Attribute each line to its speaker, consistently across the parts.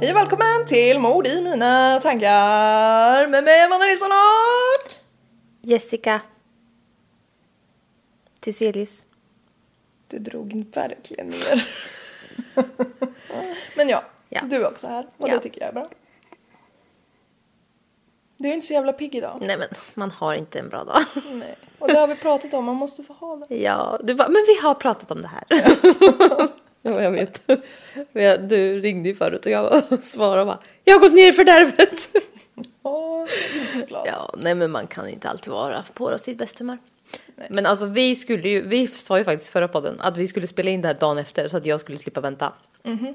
Speaker 1: Hej och välkommen till Mord i mina tankar med mig Amanda Nilsson och...
Speaker 2: Jessica. Thyselius.
Speaker 1: Du drog verkligen ner. Men ja,
Speaker 2: Ja.
Speaker 1: du är också här och
Speaker 2: Ja.
Speaker 1: det tycker jag är bra. Du är inte så jävla pigg idag.
Speaker 2: Nej men, man har inte en bra dag.
Speaker 1: Nej. Och det har vi pratat om, man måste få ha det.
Speaker 2: Ja, du bara, men vi har pratat om det här. ja, jag vet. Men jag- Du ringde ju förut och jag svarade och bara, jag har gått ner i fördärvet.
Speaker 1: Åh, jag är inte så glad.
Speaker 2: ja, nej men man kan inte alltid vara på sitt bästa humör. Men alltså vi skulle ju, vi sa ju faktiskt i förra podden att vi skulle spela in det här dagen efter så att jag skulle slippa vänta. Mhm.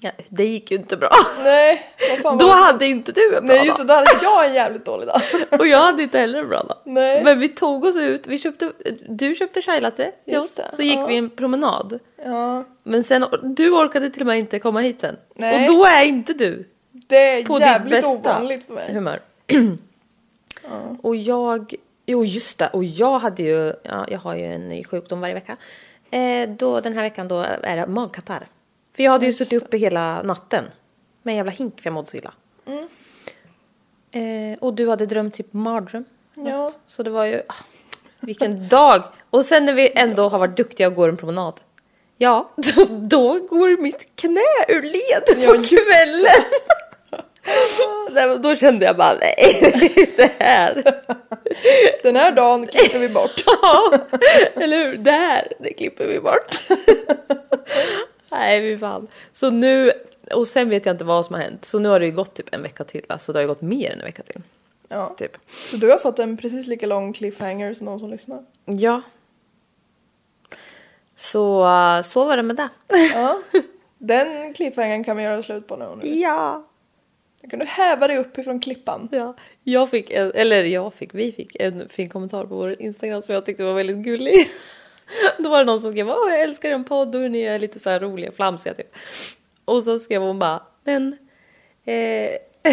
Speaker 2: ja, det gick ju inte bra.
Speaker 1: Nej, vad fan
Speaker 2: Då
Speaker 1: var det?
Speaker 2: hade inte du en bra
Speaker 1: Nej just det,
Speaker 2: dag.
Speaker 1: då hade jag en jävligt dålig dag.
Speaker 2: Och jag hade inte heller en bra dag.
Speaker 1: Nej.
Speaker 2: Men vi tog oss ut, vi köpte, du köpte chai latte till
Speaker 1: Just
Speaker 2: oss,
Speaker 1: det,
Speaker 2: så gick
Speaker 1: ja.
Speaker 2: vi en promenad.
Speaker 1: Ja,
Speaker 2: Men sen, du orkade till och med inte komma hit sen.
Speaker 1: Nej.
Speaker 2: Och då är inte du
Speaker 1: det är
Speaker 2: på ditt
Speaker 1: jävligt
Speaker 2: bästa
Speaker 1: ovanligt för mig.
Speaker 2: humör. Och jag, jo just det, och jag hade ju, ja, jag har ju en ny sjukdom varje vecka. Eh, då, den här veckan då är det magkatarr. För jag hade ju suttit uppe hela natten med en jävla hink för jag mådde så illa.
Speaker 1: Mm.
Speaker 2: Eh, och du hade drömt typ mardröm.
Speaker 1: Ja.
Speaker 2: Så det var ju, ah, vilken dag! Och sen när vi ändå har varit duktiga och går en promenad. Ja, då, då går mitt knä ur led på kvällen. Nej, men då kände jag bara nej, det här.
Speaker 1: Den här dagen klipper vi bort.
Speaker 2: Ja, eller hur? Det här, det klipper vi bort. Nej, fy fan. Så nu, och sen vet jag inte vad som har hänt. Så nu har det ju gått typ en vecka till. Alltså det har ju gått mer än en vecka till.
Speaker 1: Ja.
Speaker 2: Typ.
Speaker 1: Så du har fått en precis lika lång cliffhanger som de som lyssnar.
Speaker 2: Ja. Så, eh, så var det med det.
Speaker 1: Ja. Den cliffhangern kan vi göra slut på nu. nu.
Speaker 2: Ja.
Speaker 1: Nu kan du häva dig upp ifrån klippan.
Speaker 2: ja. Jag fick, en, eller jag fick, vi fick en fin kommentar på vår Instagram som jag tyckte var väldigt gullig. Då var det någon som skrev Åh, jag älskar en podd och ni är lite så här roliga, flamsiga typ. Och så skrev hon bara men... Eh,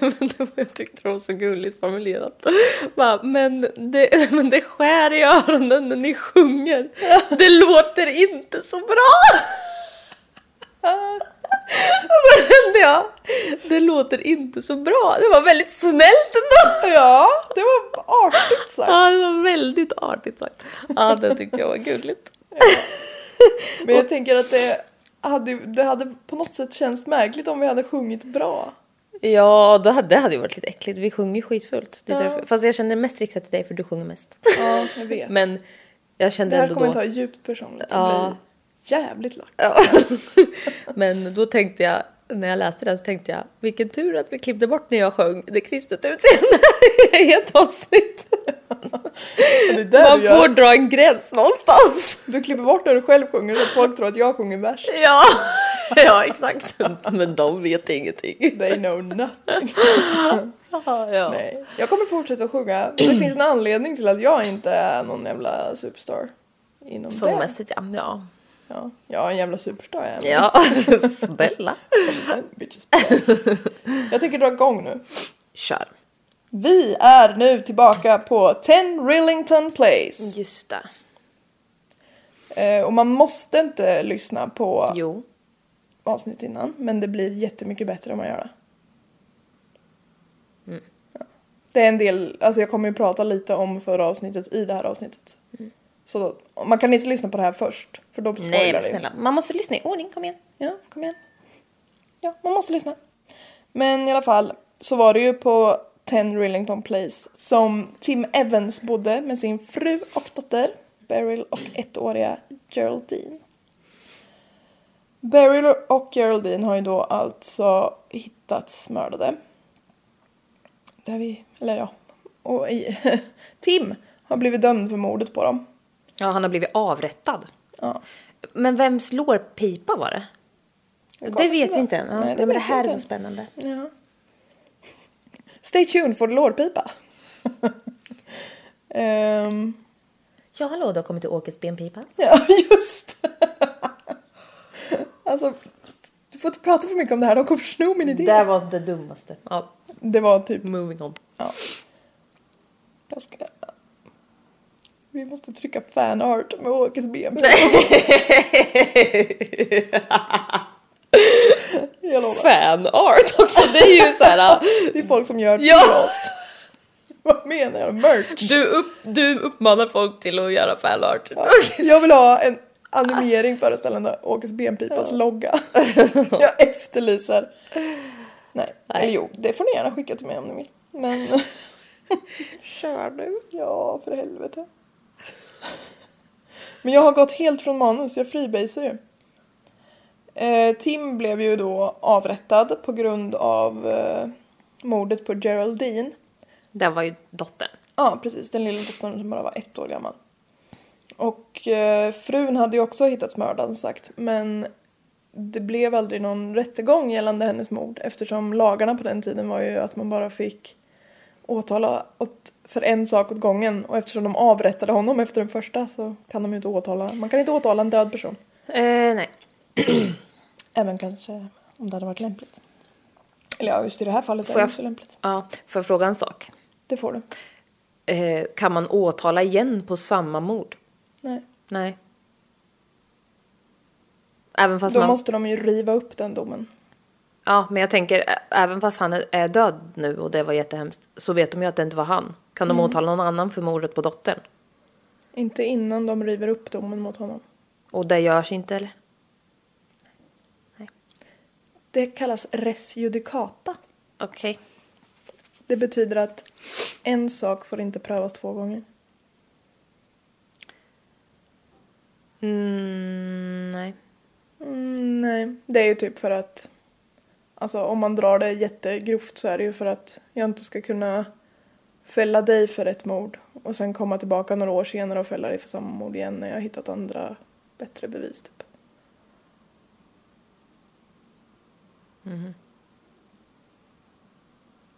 Speaker 2: men det var, jag tyckte det var så gulligt formulerat. Bara, men, det, men det skär i öronen när ni sjunger. Det låter inte så bra! Och då kände jag, det låter inte så bra. Det var väldigt snällt ändå.
Speaker 1: Ja, det var artigt sagt.
Speaker 2: Ja, det var väldigt artigt sagt. Ja, det tyckte jag var gulligt.
Speaker 1: Men jag tänker att det hade, det hade på något sätt känts märkligt om vi hade sjungit bra.
Speaker 2: Ja, det hade, det hade ju varit lite äckligt. Vi sjunger ju skitfullt. Det är
Speaker 1: Ja.
Speaker 2: därför. Fast jag kände mest riktat till dig för du sjunger mest.
Speaker 1: Ja, jag vet.
Speaker 2: Men jag
Speaker 1: det
Speaker 2: kände
Speaker 1: här
Speaker 2: ändå
Speaker 1: kommer
Speaker 2: då...
Speaker 1: jag ta djupt personligt.
Speaker 2: Ja.
Speaker 1: Ja. blir jävligt lack.
Speaker 2: Men då tänkte jag, när jag läste den så tänkte jag, vilken tur att vi klippte bort när jag sjöng det kristet utseende i ett avsnitt.
Speaker 1: Det är där
Speaker 2: Man
Speaker 1: du, gör.
Speaker 2: får dra en gräns någonstans.
Speaker 1: du klipper bort när du själv sjunger så att folk tror att jag sjunger värst.
Speaker 2: Ja, ja exakt. Men de vet ingenting.
Speaker 1: They know nothing.
Speaker 2: Ja, ja.
Speaker 1: Nej. Jag kommer fortsätta att sjunga. Det finns en anledning till att jag inte är någon jävla superstar. Inom det.
Speaker 2: Sångmässigt ja. Ja.
Speaker 1: Ja, jag är en jävla superstar jag är.
Speaker 2: ja. Snälla.
Speaker 1: Men bitches. Jag tänker dra igång nu.
Speaker 2: Kör.
Speaker 1: Vi är nu tillbaka på 10 Rillington Place.
Speaker 2: Just det.
Speaker 1: Eh, och man måste inte lyssna på
Speaker 2: Jo.
Speaker 1: avsnitt innan. Men det blir jättemycket bättre om man gör det.
Speaker 2: Mm.
Speaker 1: Ja. Det är en del, alltså jag kommer ju prata lite om förra avsnittet i det här avsnittet. Så då, man kan inte lyssna på det här först. För då spoilar
Speaker 2: Mm. Nej men
Speaker 1: det ju.
Speaker 2: snälla. Man måste lyssna i ordning, kom igen.
Speaker 1: Ja, kom igen. Ja, man måste lyssna. Men i alla fall så var det ju på 10 Rillington Place som Tim Evans bodde med sin fru och dotter Beryl och ettåriga Geraldine. Beryl och Geraldine har ju då alltså hittats mördade. Där vi, eller ja, och i, Tim har blivit dömd för mordet på dem.
Speaker 2: Ja, han har blivit avrättad.
Speaker 1: Ja.
Speaker 2: Men vems lårpipa var det? Det vet vi inte än. Ja,
Speaker 1: Nej, det
Speaker 2: men det
Speaker 1: vet vi
Speaker 2: här
Speaker 1: inte.
Speaker 2: är så spännande.
Speaker 1: Ja. Stay tuned for lårpipa. Ehm,
Speaker 2: Ja, hallå, du har kommit till Åkes benpipa.
Speaker 1: ja, just Alltså, du får inte prata för mycket om det här, de kommer sno min idé.
Speaker 2: där var det dummaste. Ja,
Speaker 1: Det var typ...
Speaker 2: moving on.
Speaker 1: Jag ska... Vi måste trycka fanart med Åkes ben. Jag lovar.
Speaker 2: Fanart också, det är ju så här...
Speaker 1: Det är folk som gör
Speaker 2: Ja!
Speaker 1: Vad menar jag? Merch?
Speaker 2: Du, upp, du uppmanar folk till att göra fanart.
Speaker 1: Jag vill ha en animering föreställande Åkes benpipas logga. Jag efterlyser. Nej. eller jo, det får ni gärna skicka till mig om ni vill. Men... Kör du? Ja, för helvete. Men jag har gått helt från manus, jag freebasar ju. Eh, Tim blev ju då avrättad på grund av eh, mordet på Geraldine.
Speaker 2: Det var ju dottern.
Speaker 1: Ja, precis. Den lilla dottern som bara var ett år gammal. Och eh, frun hade ju också hittats mördad som sagt men det blev aldrig någon rättegång gällande hennes mord eftersom lagarna på den tiden var ju att man bara fick åtala åt, för en sak åt gången och eftersom de avrättade honom efter den första så kan de ju inte åtala. Man kan inte åtala en död person.
Speaker 2: Eh, nej.
Speaker 1: Även kanske om det hade varit lämpligt. Eller ja, just i det här fallet är
Speaker 2: Får
Speaker 1: det
Speaker 2: jag-
Speaker 1: inte så lämpligt.
Speaker 2: Ja, får jag fråga en sak?
Speaker 1: Det får du.
Speaker 2: Eh, kan man åtala igen på samma mord?
Speaker 1: Nej.
Speaker 2: Nej. Även fast
Speaker 1: Då
Speaker 2: man...
Speaker 1: måste de ju riva upp den domen.
Speaker 2: Ja, men jag tänker, ä- även fast han är- är död nu och det var jättehemskt, så vet de ju att det inte var han. Kan
Speaker 1: Mm.
Speaker 2: de åtala någon annan för mordet på dottern?
Speaker 1: Inte innan de river upp domen mot honom.
Speaker 2: Och det görs inte eller?
Speaker 1: Det kallas res judicata.
Speaker 2: Okej.
Speaker 1: Det betyder att en sak får inte prövas två gånger.
Speaker 2: Mm, nej.
Speaker 1: Mm, nej, det är ju typ för att... Alltså om man drar det jättegrovt så är det ju för att jag inte ska kunna fälla dig för ett mord och sen komma tillbaka några år senare och fälla dig för samma mord igen när jag har hittat andra bättre bevis typ.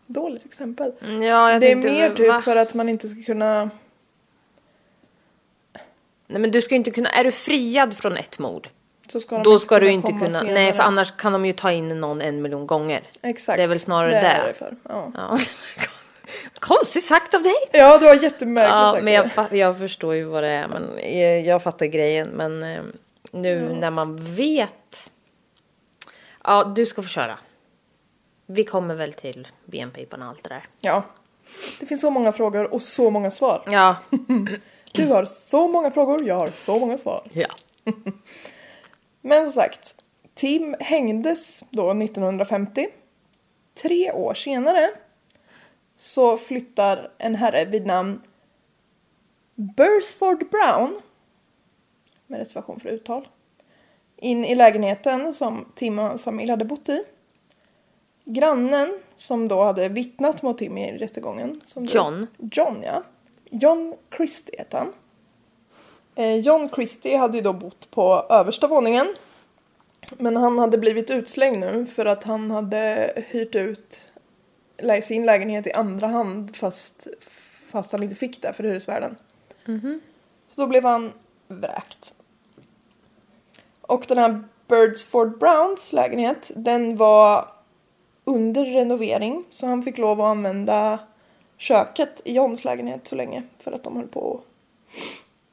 Speaker 1: Dåligt exempel.
Speaker 2: Mm, Ja, jag
Speaker 1: det är
Speaker 2: tänkte,
Speaker 1: mer typ
Speaker 2: va?
Speaker 1: för att man inte ska kunna...
Speaker 2: Nej men du ska ju inte kunna, är du friad från ett mord?
Speaker 1: Så ska de
Speaker 2: Då ska du inte
Speaker 1: komma
Speaker 2: kunna,
Speaker 1: senare.
Speaker 2: nej för annars kan de ju ta in någon en miljon gånger.
Speaker 1: Exakt.
Speaker 2: det är väl snarare
Speaker 1: det.
Speaker 2: det.
Speaker 1: Är det för. Ja.
Speaker 2: Ja. Konstigt sagt av dig!
Speaker 1: ja, du har jättemärkligt
Speaker 2: Ja,
Speaker 1: sagt
Speaker 2: men jag,
Speaker 1: det.
Speaker 2: fa- jag förstår ju vad det är, men jag, jag fattar grejen. Men eh, nu när man vet... Ja, du ska få köra. Vi kommer väl till benpipan och allt det där.
Speaker 1: Ja. Det finns så många frågor och så många svar.
Speaker 2: Ja.
Speaker 1: Du har så många frågor, jag har så många svar.
Speaker 2: ja.
Speaker 1: Men som sagt, Tim hängdes då 1950. Tre år senare så flyttar en herre vid namn Beresford Brown, med reservation för uttal, in i lägenheten som Tim och hans familj hade bott i. Grannen som då hade vittnat mot Tim i rättegången. Som du-
Speaker 2: John.
Speaker 1: John, ja. John Christie heter han. Eh, John Christie hade ju då bott på översta våningen. Men han hade blivit utslängd nu för att han hade hyrt ut lä- sin lägenhet i andra hand fast, fast han inte fick det för hyresvärden. Så då blev han vräkt. Och den här Birdsford Browns lägenhet, den var under renovering så han fick lov att använda köket i Johns lägenhet så länge för att de höll på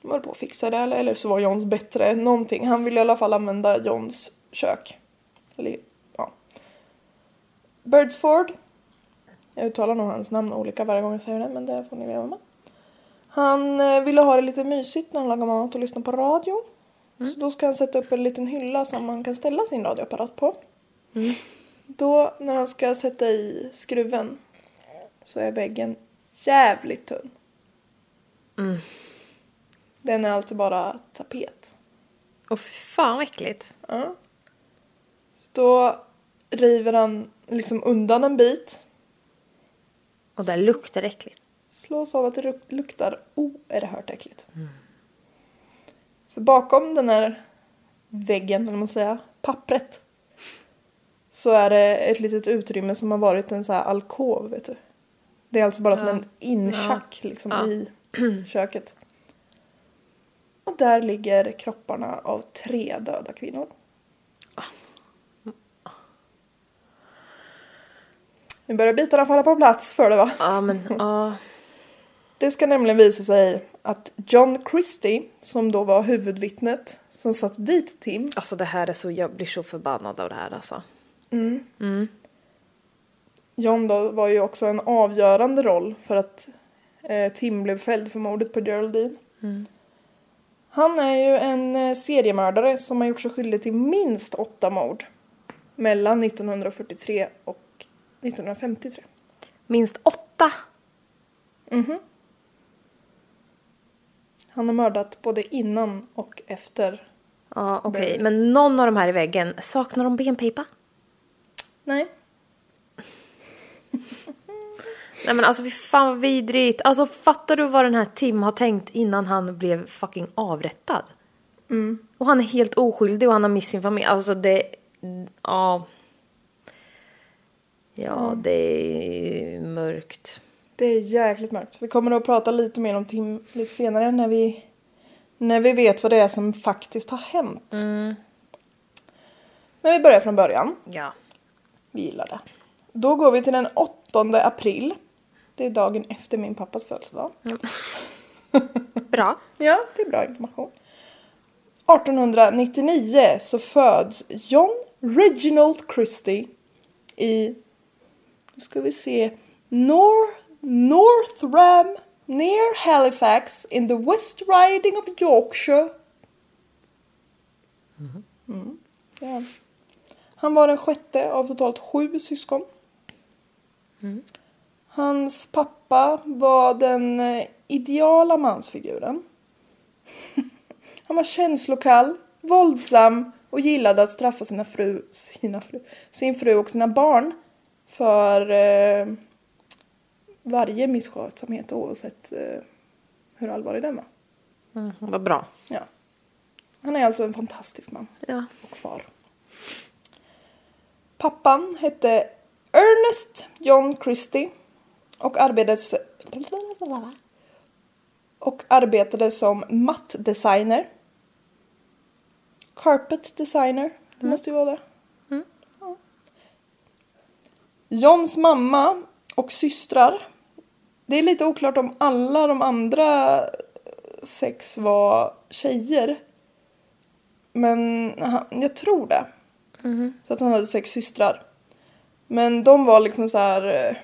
Speaker 1: de höll på att fixa det eller, eller så var Johns bättre, någonting. Han ville i alla fall använda Johns kök. Eller, ja. Birdsford. Jag uttalar nog hans namn olika varje gång jag säger det men det får ni leva med. Han eh, ville ha det lite mysigt när han lagar mat och lyssnar på radio. Så då ska han sätta upp en liten hylla som man kan ställa sin radioapparat på. Då när han ska sätta i skruven så är väggen jävligt tunn. Den är alltså bara tapet.
Speaker 2: Och fy fan vad äckligt.
Speaker 1: Ja. Så då river han liksom undan en bit.
Speaker 2: Och det luktar äckligt.
Speaker 1: Slås av att det luk- luktar oerhört äckligt. För bakom den här väggen, eller vad man säger, pappret. Så är det ett litet utrymme som har varit en så här alkov, vet du. Det är alltså bara som en inchack liksom i köket. Och där ligger kropparna av tre döda kvinnor. Nu börjar bitarna falla på plats för det va?
Speaker 2: Ja men ja.
Speaker 1: Det ska nämligen visa sig att John Christie, som då var huvudvittnet som satt dit Tim,
Speaker 2: Alltså det här är så, jag blir så förbannad av det här alltså. Mm.
Speaker 1: John då var ju också en avgörande roll för att eh, Tim blev fälld för mordet på Geraldine. Han är ju en eh, seriemördare som har gjort sig skyldig till minst åtta mord mellan 1943 och 1953.
Speaker 2: Minst åtta!
Speaker 1: Han har mördat både innan och efter.
Speaker 2: Ja okej, men någon av de här i väggen, saknar de benpipa?
Speaker 1: Nej,
Speaker 2: Nej men alltså fy fan vad vidrigt. Alltså fattar du vad den här Tim har tänkt innan han blev fucking avrättad? Och han är helt oskyldig och han har mist sin familj. Alltså det... Ja. Ja, det är mörkt.
Speaker 1: Det är jäkligt mörkt. Vi kommer att prata lite mer om Tim lite senare när vi, när vi vet vad det är som faktiskt har hänt. Men vi börjar från början.
Speaker 2: Ja.
Speaker 1: Vi gillar det. Då går vi till den 8 april. Det är dagen efter min pappas födelsedag.
Speaker 2: Bra.
Speaker 1: Ja, det är bra information. 1899 så föds John Reginald Christie i, nu ska vi se, Nor- Northram near Halifax in the West Riding of Yorkshire. Mm, ja. Han var den sjätte av totalt sju syskon. Hans pappa var den eh, ideala mansfiguren. Han var känslokall, våldsam och gillade att straffa sina fru, sina fru, sin fru och sina barn för eh, varje misskötsamhet oavsett eh, hur allvarlig den var.
Speaker 2: Mm, vad bra.
Speaker 1: Ja. Han är alltså en fantastisk man
Speaker 2: Ja.
Speaker 1: och far. Pappan hette Ernest John Christie och arbetade, och arbetade som mattdesigner. Carpet designer, det måste ju vara det. Ja. Johns mamma och systrar. Det är lite oklart om alla de andra sex var tjejer. Men han, jag tror det. Så att han hade sex systrar. Men de var liksom så här eh,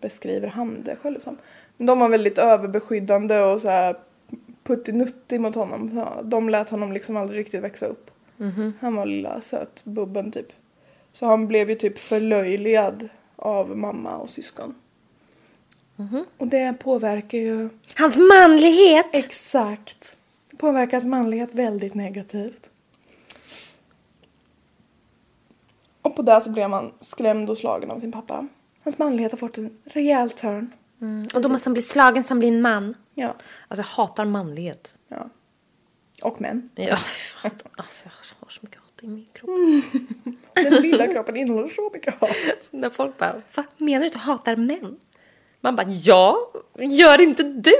Speaker 1: beskriver han det själv som. Men de var väldigt överbeskyddande och så här puttinuttig mot honom. Ja, De lät honom liksom aldrig riktigt växa upp. Han var lilla sötbubben typ. Så han blev ju typ förlöjligad av mamma och syskon. Och det påverkar ju
Speaker 2: Hans manlighet!
Speaker 1: Exakt. Det påverkar hans manlighet väldigt negativt. Och på det så blev man skrämd och slagen av sin pappa. Hans manlighet har fått en rejäl törn.
Speaker 2: Mm, Och då måste han bli slagen så han blir en man.
Speaker 1: Ja.
Speaker 2: Alltså jag hatar manlighet.
Speaker 1: ja. Och män.
Speaker 2: Ja, fy fan. Alltså jag har så mycket hat. i min kropp.
Speaker 1: Den lilla kroppen innehåller så mycket hat.
Speaker 2: Så när folk bara, vad menar du att du hatar män? Man bara, ja, gör inte du!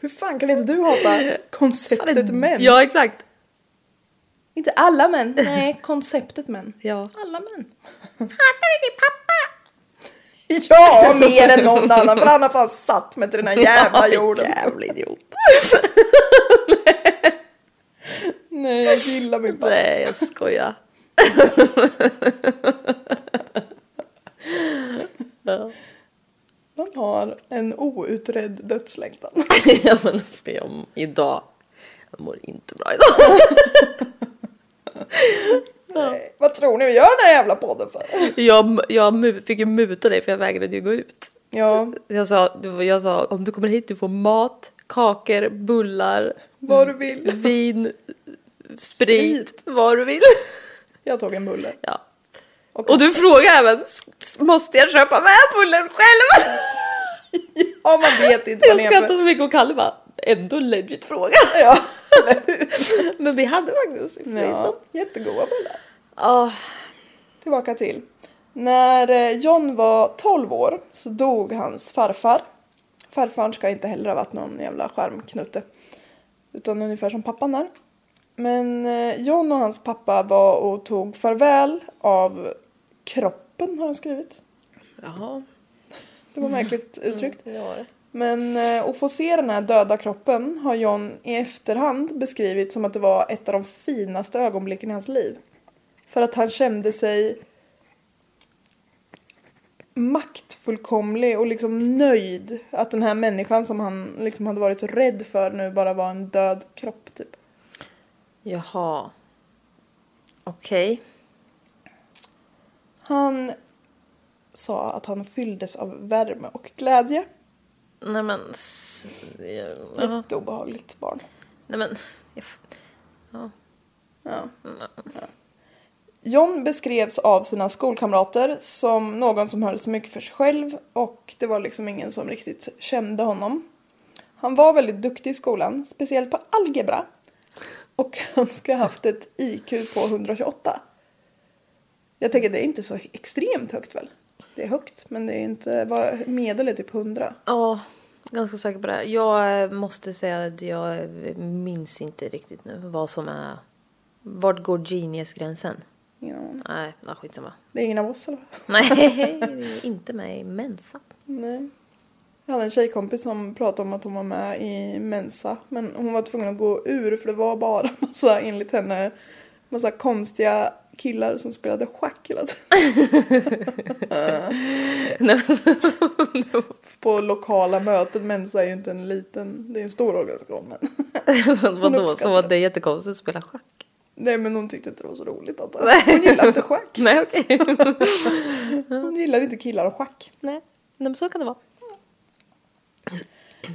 Speaker 1: Hur fan kan inte du hata konceptet män?
Speaker 2: Ja, exakt.
Speaker 1: Inte alla män. Nej, konceptet män.
Speaker 2: Ja.
Speaker 1: Alla män.
Speaker 2: Hatar du din pappa?
Speaker 1: Ja, mer än någon annan för han har fan satt mig till den här jävla jorden.
Speaker 2: Jävla idiot.
Speaker 1: Nej, jag gillar min pappa.
Speaker 2: Nej, jag skojar. ja.
Speaker 1: Han har en outredd dödslängtan.
Speaker 2: ja, men alltså jag, idag, jag mår inte bra idag.
Speaker 1: Nej, Vad tror ni vi gör den här jävla podden för?
Speaker 2: Jag, jag mu- fick ju muta dig för jag vägrade ju gå ut.
Speaker 1: Ja,
Speaker 2: Jag sa, du- jag sa om du kommer hit du får mat, kakor, bullar,
Speaker 1: vad du vill.
Speaker 2: vin, sprit, vad du vill.
Speaker 1: Jag tog en bulle.
Speaker 2: Ja.
Speaker 1: Och-
Speaker 2: Och du frågade även, "S- s- måste jag köpa med bullen själv?
Speaker 1: Ja, man vet inte vad
Speaker 2: Jag
Speaker 1: ni är
Speaker 2: skrattade
Speaker 1: för...
Speaker 2: så mycket och Kalle bara, ändå en legit fråga.
Speaker 1: Ja, eller hur?
Speaker 2: Men vi hade faktiskt i frysen.
Speaker 1: Ja, Ah. jättegoda bullar.
Speaker 2: Ja.
Speaker 1: Tillbaka till. När eh, John var 12 år så dog hans farfar. Farfar ska inte heller ha varit någon jävla skärmknutte. Utan ungefär som pappan är. Men eh, John och hans pappa var och tog farväl av kroppen har han skrivit.
Speaker 2: Jaha.
Speaker 1: Det var märkligt uttryckt.
Speaker 2: Det var det.
Speaker 1: Men eh, att få se den här döda kroppen har John i efterhand beskrivit som att det var ett av de finaste ögonblicken i hans liv. För att han kände sig maktfullkomlig och liksom nöjd att den här människan som han liksom hade varit så rädd för nu bara var en död kropp typ.
Speaker 2: Jaha. Okej.
Speaker 1: Han sa att han fylldes av värme och glädje.
Speaker 2: Nej men... s- ja, jaha.
Speaker 1: Jätteobehagligt barn.
Speaker 2: Nej men... jag f-
Speaker 1: Ja. Ja. John beskrevs av sina skolkamrater som någon som höll så mycket för sig själv och det var liksom ingen som riktigt kände honom. Han var väldigt duktig i skolan, speciellt på algebra. Och han ska ha haft ett IQ på 128. Jag tänker det är inte så extremt högt väl? Det är högt, men det är inte, vad- medel är typ 100.
Speaker 2: Ja, ganska säker på det. Jag eh, måste säga att jag eh, minns inte riktigt nu vad som är... Vart går Genius-gränsen?
Speaker 1: Ingen aning.
Speaker 2: Nej, nej, skitsamma.
Speaker 1: Det är ingen av oss eller? vad?
Speaker 2: Nej, vi är inte med i Mensa.
Speaker 1: Nej. Jag hade en tjejkompis som pratade om att hon var med i Mensa. Men hon var tvungen att gå ur för det var bara massa, enligt henne, massa konstiga killar som spelade schack hela tiden.
Speaker 2: Nej,
Speaker 1: På lokala möten. Mensa är ju inte en liten, det är en stor organisation. Men...
Speaker 2: men vadå,
Speaker 1: uppskattar
Speaker 2: så var
Speaker 1: det.
Speaker 2: det jättekonstigt att spela schack?
Speaker 1: Nej men hon tyckte inte det var så roligt att hon gillade inte schack.
Speaker 2: Nej, okej.
Speaker 1: Hon gillar inte killar och schack.
Speaker 2: Nej, nej, men så kan det vara.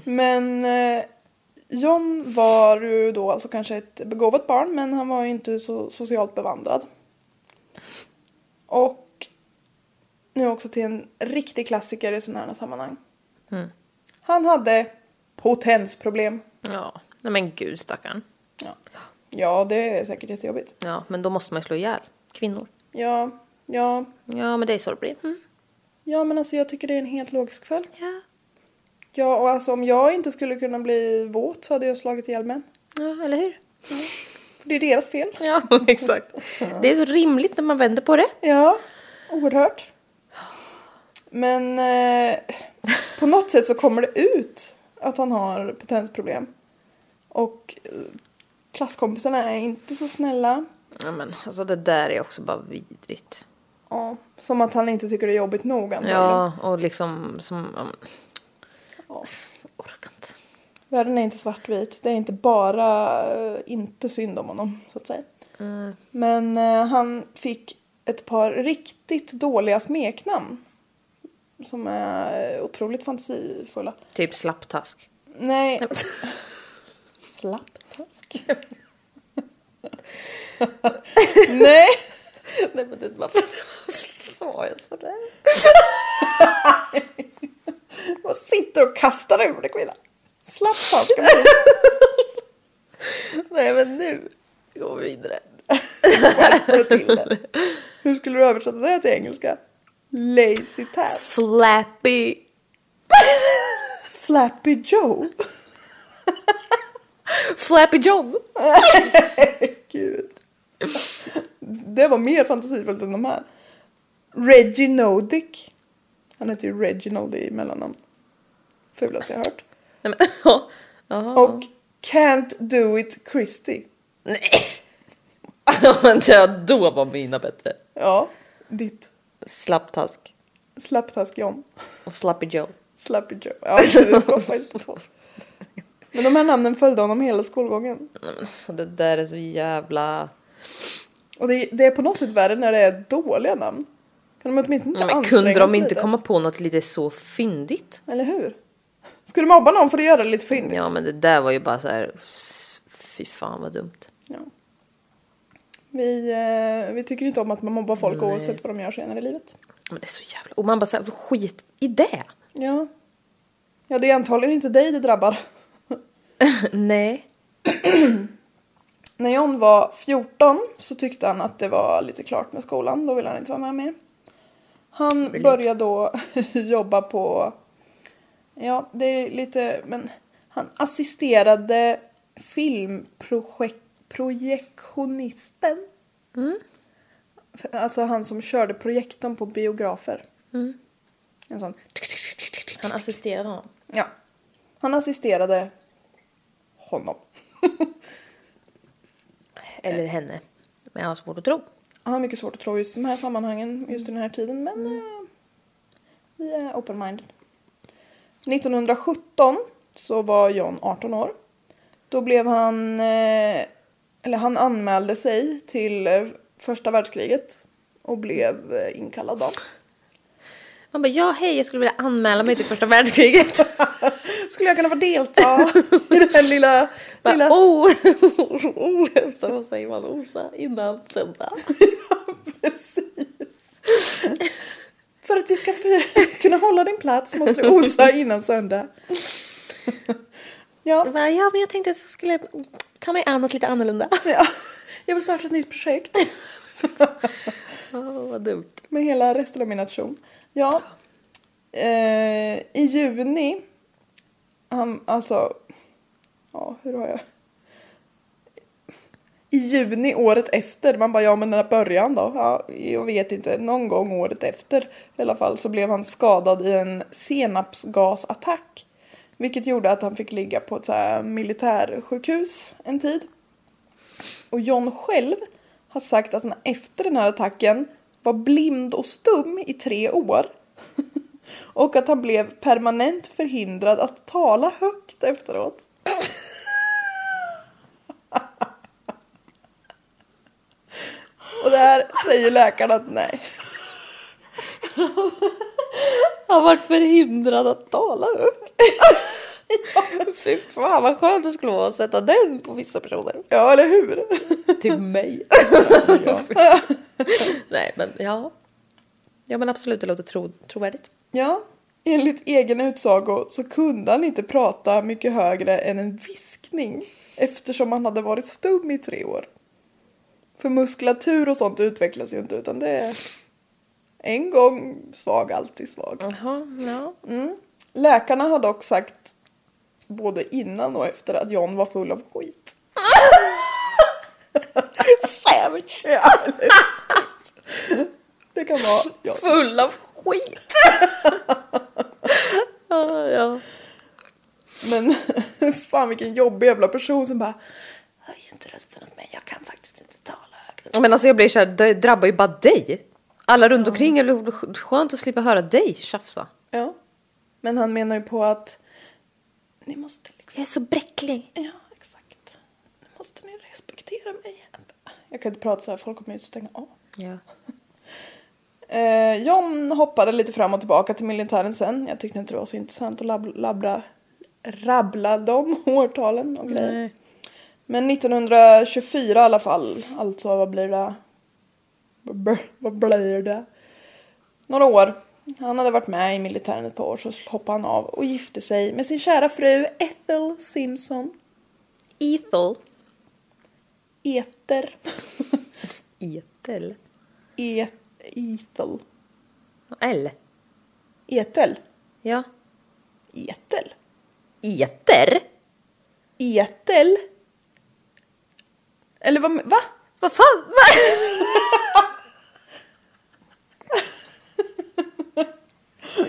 Speaker 1: Men eh, John var ju då alltså kanske ett begåvat barn men han var ju inte så socialt bevandrad. Och nu också till en riktig klassiker i sådana här sammanhang. Han hade potensproblem.
Speaker 2: Ja, nej men gud stackarn.
Speaker 1: Ja. ja, det är säkert jättejobbigt.
Speaker 2: Ja, men då måste man ju slå ihjäl kvinnor.
Speaker 1: Ja, ja,
Speaker 2: Ja, men det är så det blir. Mm.
Speaker 1: ja men alltså jag tycker det är en helt logisk följd.
Speaker 2: Ja.
Speaker 1: Ja, och alltså om jag inte skulle kunna bli våt så hade jag slagit ihjäl män.
Speaker 2: ja, eller hur?
Speaker 1: För det är deras fel.
Speaker 2: Ja, exakt. Det är så rimligt när man vänder på det.
Speaker 1: Ja, oerhört. Men eh, på något sätt så kommer det ut att han har potensproblem. Och eh, klasskompisarna är inte så snälla.
Speaker 2: Ja, men alltså det där är också bara vidrigt.
Speaker 1: Ja, som att han inte tycker det är jobbigt nog antagligen.
Speaker 2: Ja, och liksom som... ja, men,
Speaker 1: Ja.
Speaker 2: Orkar inte.
Speaker 1: Världen är inte svartvit. Det är inte bara eh, inte synd om honom, så att säga.
Speaker 2: Mm,
Speaker 1: Men eh, han fick ett par riktigt dåliga smeknamn. Som är eh, otroligt fantasifulla.
Speaker 2: Typ slapptask.
Speaker 1: Nej. Slapptask. Nej.
Speaker 2: Nej men det var... Varför sa jag sådär?
Speaker 1: Vad sitter och kastar ur dig kvinna? Slapptask.
Speaker 2: Nej men nu går vi vidare.
Speaker 1: Skärp dig till det. Hur skulle du översätta det till engelska? Lazy task.
Speaker 2: Flappy.
Speaker 1: Flappy Joe.
Speaker 2: Flappy John.
Speaker 1: Gud. Det var mer fantasifullt än de här. Reggie Nodick. Han heter ju Reginald i mellannamn. Fulaste jag hört.
Speaker 2: Nej men ja. Jaha.
Speaker 1: Och Can't Do It Christie.
Speaker 2: Nej. Ja, men det- då var mina bättre.
Speaker 1: Ja, ditt.
Speaker 2: Slapptask
Speaker 1: Slapptask John.
Speaker 2: och Slappy Joe.
Speaker 1: Slappy Joe. Ja, det droppar inte på. Men de här namnen följde honom hela skolgången.
Speaker 2: Alltså, det där är så jävla...
Speaker 1: Och det, det är på något sätt värre när det är dåliga namn. Kan de åtminstone inte
Speaker 2: Nej, men
Speaker 1: anstränga
Speaker 2: kunde de
Speaker 1: sig
Speaker 2: inte
Speaker 1: lite?
Speaker 2: komma på något lite så fyndigt?
Speaker 1: Eller hur? Ska du mobba någon för att göra det lite fyndigt?
Speaker 2: Ja men det där var ju bara så här... s- Fy fan vad dumt.
Speaker 1: Ja. Vi, eh, vi tycker inte om att man mobbar folk oavsett vad de gör senare i livet.
Speaker 2: Men det är så jävla... Och man bara så här, skit i det!
Speaker 1: Ja. Ja, det är antagligen inte dig det drabbar.
Speaker 2: Nej.
Speaker 1: När John var 14 så tyckte han att det var lite klart med skolan. Då ville han inte vara med mer. Han började då jobba på... Ja, det är lite... Men han assisterade filmprojektionisten. Alltså han som körde projektorn på biografer. En sån...
Speaker 2: Han assisterade honom.
Speaker 1: Ja. Han assisterade honom.
Speaker 2: Eller henne. Men jag har svårt att tro.
Speaker 1: Jag har mycket svårt att tro just i de här sammanhangen, just i den här tiden, men eh, vi är open-minded. 1917 så var John 18 år. Då blev han, eh, eller han anmälde sig till eh, första världskriget och blev eh, inkallad då.
Speaker 2: Man bara, ja hej jag skulle vilja anmäla mig till första världskriget.
Speaker 1: Skulle jag kunna få delta i den här lilla...
Speaker 2: bara,
Speaker 1: lilla...
Speaker 2: oh! oh. Så vad säger man? Orsa innan söndag.
Speaker 1: För att vi ska f- kunna hålla din plats måste du osa innan söndag. ja.
Speaker 2: Jag bara, ja men jag tänkte att jag skulle ta mig an något lite annorlunda.
Speaker 1: ja, jag vill starta ett nytt projekt.
Speaker 2: Oh, vad dumt.
Speaker 1: med hela resten av min nation. Ja. Eh, I juni, han, alltså, ja hur har jag? I juni året efter, man bara ja men när början då? Ja, jag vet inte, någon gång året efter i alla fall så blev han skadad i en senapsgasattack. Vilket gjorde att han fick ligga på ett så här militärsjukhus en tid. Och John själv har sagt att han efter den här attacken var blind och stum i tre år. och att han blev permanent förhindrad att tala högt efteråt. och där säger läkaren att nej.
Speaker 2: Han varit förhindrad att tala högt. Fy fan vad skönt det skulle vara att sätta den på vissa personer.
Speaker 1: Ja, eller hur?
Speaker 2: Typ mig. Nej men ja. Ja men absolut det låter tro, trovärdigt.
Speaker 1: Ja, enligt egen utsago så kunde han inte prata mycket högre än en viskning eftersom han hade varit stum i tre år. För muskulatur och sånt utvecklas ju inte utan det är en gång svag, alltid svag.
Speaker 2: Jaha, ja.
Speaker 1: Läkarna har dock sagt både innan och efter att John var full av skit.
Speaker 2: Savage.
Speaker 1: Ja, eller hur? det kan vara John.
Speaker 2: Full av skit. ja, ja.
Speaker 1: Men fan vilken jobbig jävla person som bara Höj inte rösten åt mig, jag kan faktiskt inte tala högre.
Speaker 2: Men alltså jag blir såhär, det drabbar ju bara dig. Alla runt omkring, det blir skönt att slippa höra dig tjafsa.
Speaker 1: Ja. Men han menar ju på att ni måste liksom...
Speaker 2: Jag är så bräcklig.
Speaker 1: Ja, exakt. Nu måste ni respektera mig. Jag kan inte prata så här, folk kommer ju att stänga av.
Speaker 2: Ja.
Speaker 1: Eh, John hoppade lite fram och tillbaka till militären sen. Jag tyckte inte det var så intressant att lab- labra, rabbla de årtalen och grejer.
Speaker 2: Nej.
Speaker 1: Men 1924 i alla fall, alltså vad blir det? Vad blir- Vad blir det? Några år. Han hade varit med i militären ett par år så hoppade han av och gifte sig med sin kära fru Ethel Simpson.
Speaker 2: Ethel.
Speaker 1: Eter.
Speaker 2: Etel?
Speaker 1: E- Ethel.
Speaker 2: L?
Speaker 1: Etel?
Speaker 2: Ja.
Speaker 1: Etel?
Speaker 2: Eter?
Speaker 1: Etel? Eller vad? Va?
Speaker 2: Vad fan? Va?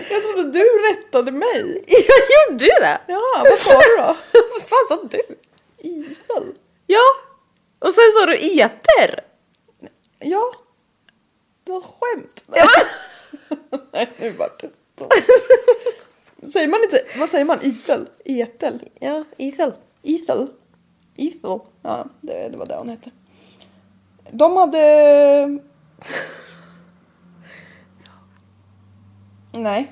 Speaker 1: Jag trodde du rättade mig.
Speaker 2: Jag gjorde ju det!
Speaker 1: Ja, vad sa du då?
Speaker 2: vad fan sa du?
Speaker 1: Etel?
Speaker 2: Ja! Och sen sa du eter!
Speaker 1: Ja. Det var ett skämt. Nej, nu vart det dumt. Säger man inte, vad säger man? Ethel? Ethel?
Speaker 2: Ja, Ethel.
Speaker 1: Ethel? Ethel? Ja, det, det var det hon hette. De hade... Nej.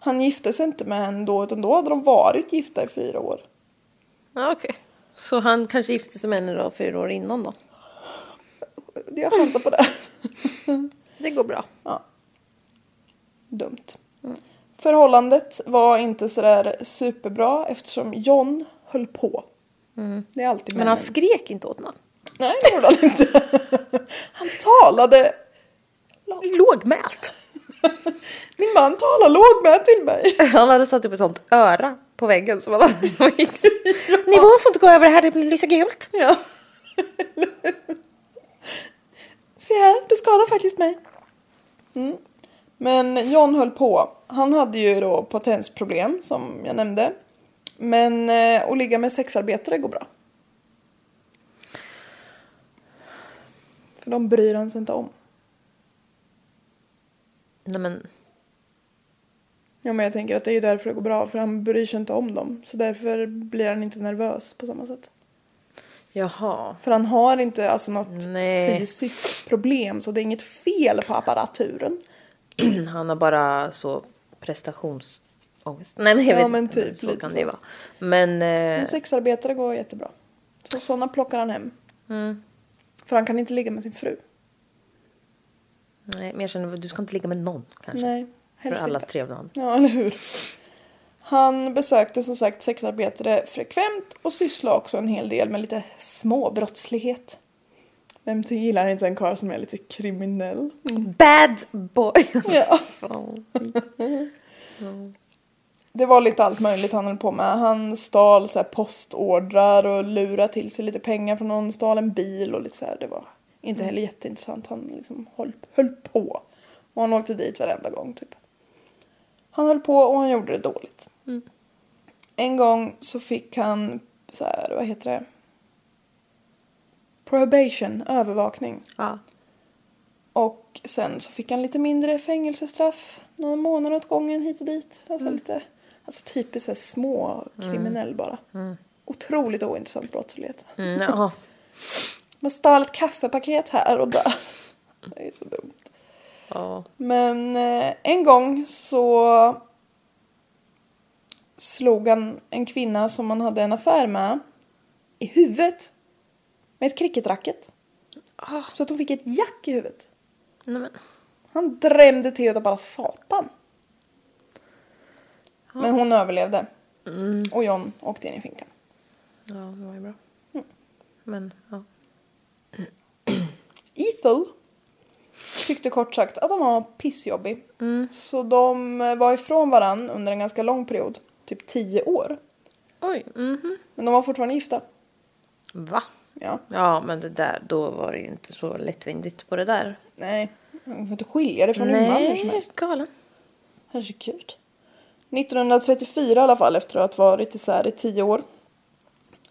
Speaker 1: Han gifte sig inte med henne då, utan då hade de varit gifta i fyra år.
Speaker 2: Ja, okej. Så han kanske gifte sig med henne då fyra år innan då?
Speaker 1: Det- Jag chansar på det.
Speaker 2: Det går bra.
Speaker 1: Ja. Dumt. Förhållandet var inte sådär superbra eftersom John höll på. Det är alltid
Speaker 2: Mm. Men
Speaker 1: männen.
Speaker 2: han skrek inte åt henne.
Speaker 1: Nej, det gjorde han inte. Han talade...
Speaker 2: Lågmält.
Speaker 1: Min man talar låg med till mig.
Speaker 2: Han hade satt upp ett sånt öra på väggen som han hade. Nivån får inte gå över det här, det blir lysa gult.
Speaker 1: Ja. Se här, du skadar faktiskt mig. Mm. Men John höll på. Han hade ju då potensproblem som jag nämnde. Men eh, att ligga med sexarbetare går bra. För de bryr han sig inte om.
Speaker 2: Nej men,
Speaker 1: Ja men jag tänker att det är ju därför det går bra för han bryr sig inte om dem. Så därför blir han inte nervös på samma sätt.
Speaker 2: jaha.
Speaker 1: För han har inte alltså, något
Speaker 2: Nej.
Speaker 1: fysiskt problem så det är inget fel på apparaturen.
Speaker 2: Han har bara så prestationsångest. Nej men jag
Speaker 1: Ja,
Speaker 2: vet
Speaker 1: men
Speaker 2: inte, men
Speaker 1: typ
Speaker 2: så
Speaker 1: lite
Speaker 2: kan
Speaker 1: så.
Speaker 2: det ju vara. Men, eh,
Speaker 1: En sexarbetare går jättebra. Så sådana plockar han hem.
Speaker 2: Mm.
Speaker 1: För han kan inte ligga med sin fru.
Speaker 2: nej, men jag känner du ska inte ligga med någon kanske.
Speaker 1: Nej,
Speaker 2: För
Speaker 1: helst
Speaker 2: allas
Speaker 1: inte.
Speaker 2: trevnad.
Speaker 1: Ja, eller hur. Han besökte som sagt sexarbetare frekvent och sysslade också en hel del med lite småbrottslighet. Vem gillar inte en karl som är lite kriminell?
Speaker 2: Bad boy!
Speaker 1: Ja. Det var lite allt möjligt han höll på med. Han stal så här postordrar och lurade till sig lite pengar från någon, stal en bil och lite så här. Det var inte heller jätteintressant. Han liksom höll, höll på. Och han åkte dit varenda gång typ. Han höll på och han gjorde det dåligt. En gång så fick han så här, vad heter det? Prohibition, övervakning.
Speaker 2: Ja.
Speaker 1: Och sen så fick han lite mindre fängelsestraff. Någon månad åt gången hit och dit. Alltså, lite, alltså typiskt så här små kriminell bara. Otroligt ointressant brottslighet.
Speaker 2: Mm, jaha.
Speaker 1: Man stal ett kaffepaket här och där. Det är så dumt.
Speaker 2: Ja.
Speaker 1: Men eh, en gång så slog han en kvinna som han hade en affär med i huvudet med ett cricketracket. Så att hon fick ett jack i huvudet.
Speaker 2: Nej, men.
Speaker 1: Han drämde till utav bara satan. Men hon överlevde. Och John åkte in i finkan.
Speaker 2: Ja, det var ju bra. Men, ja.
Speaker 1: Ethel tyckte kort sagt att han var pissjobbig. Så de var ifrån varann under en ganska lång period. Typ tio år.
Speaker 2: Oj, mhm.
Speaker 1: Men de var fortfarande gifta.
Speaker 2: Va?
Speaker 1: Ja,
Speaker 2: Ja, men det där, då var det ju inte så lättvindigt på det där.
Speaker 1: nej. Man får inte skilja det från en man hur som
Speaker 2: Nej,
Speaker 1: helst.
Speaker 2: galen.
Speaker 1: Herregud. 1934 i alla fall efter att ha varit isär i tio år.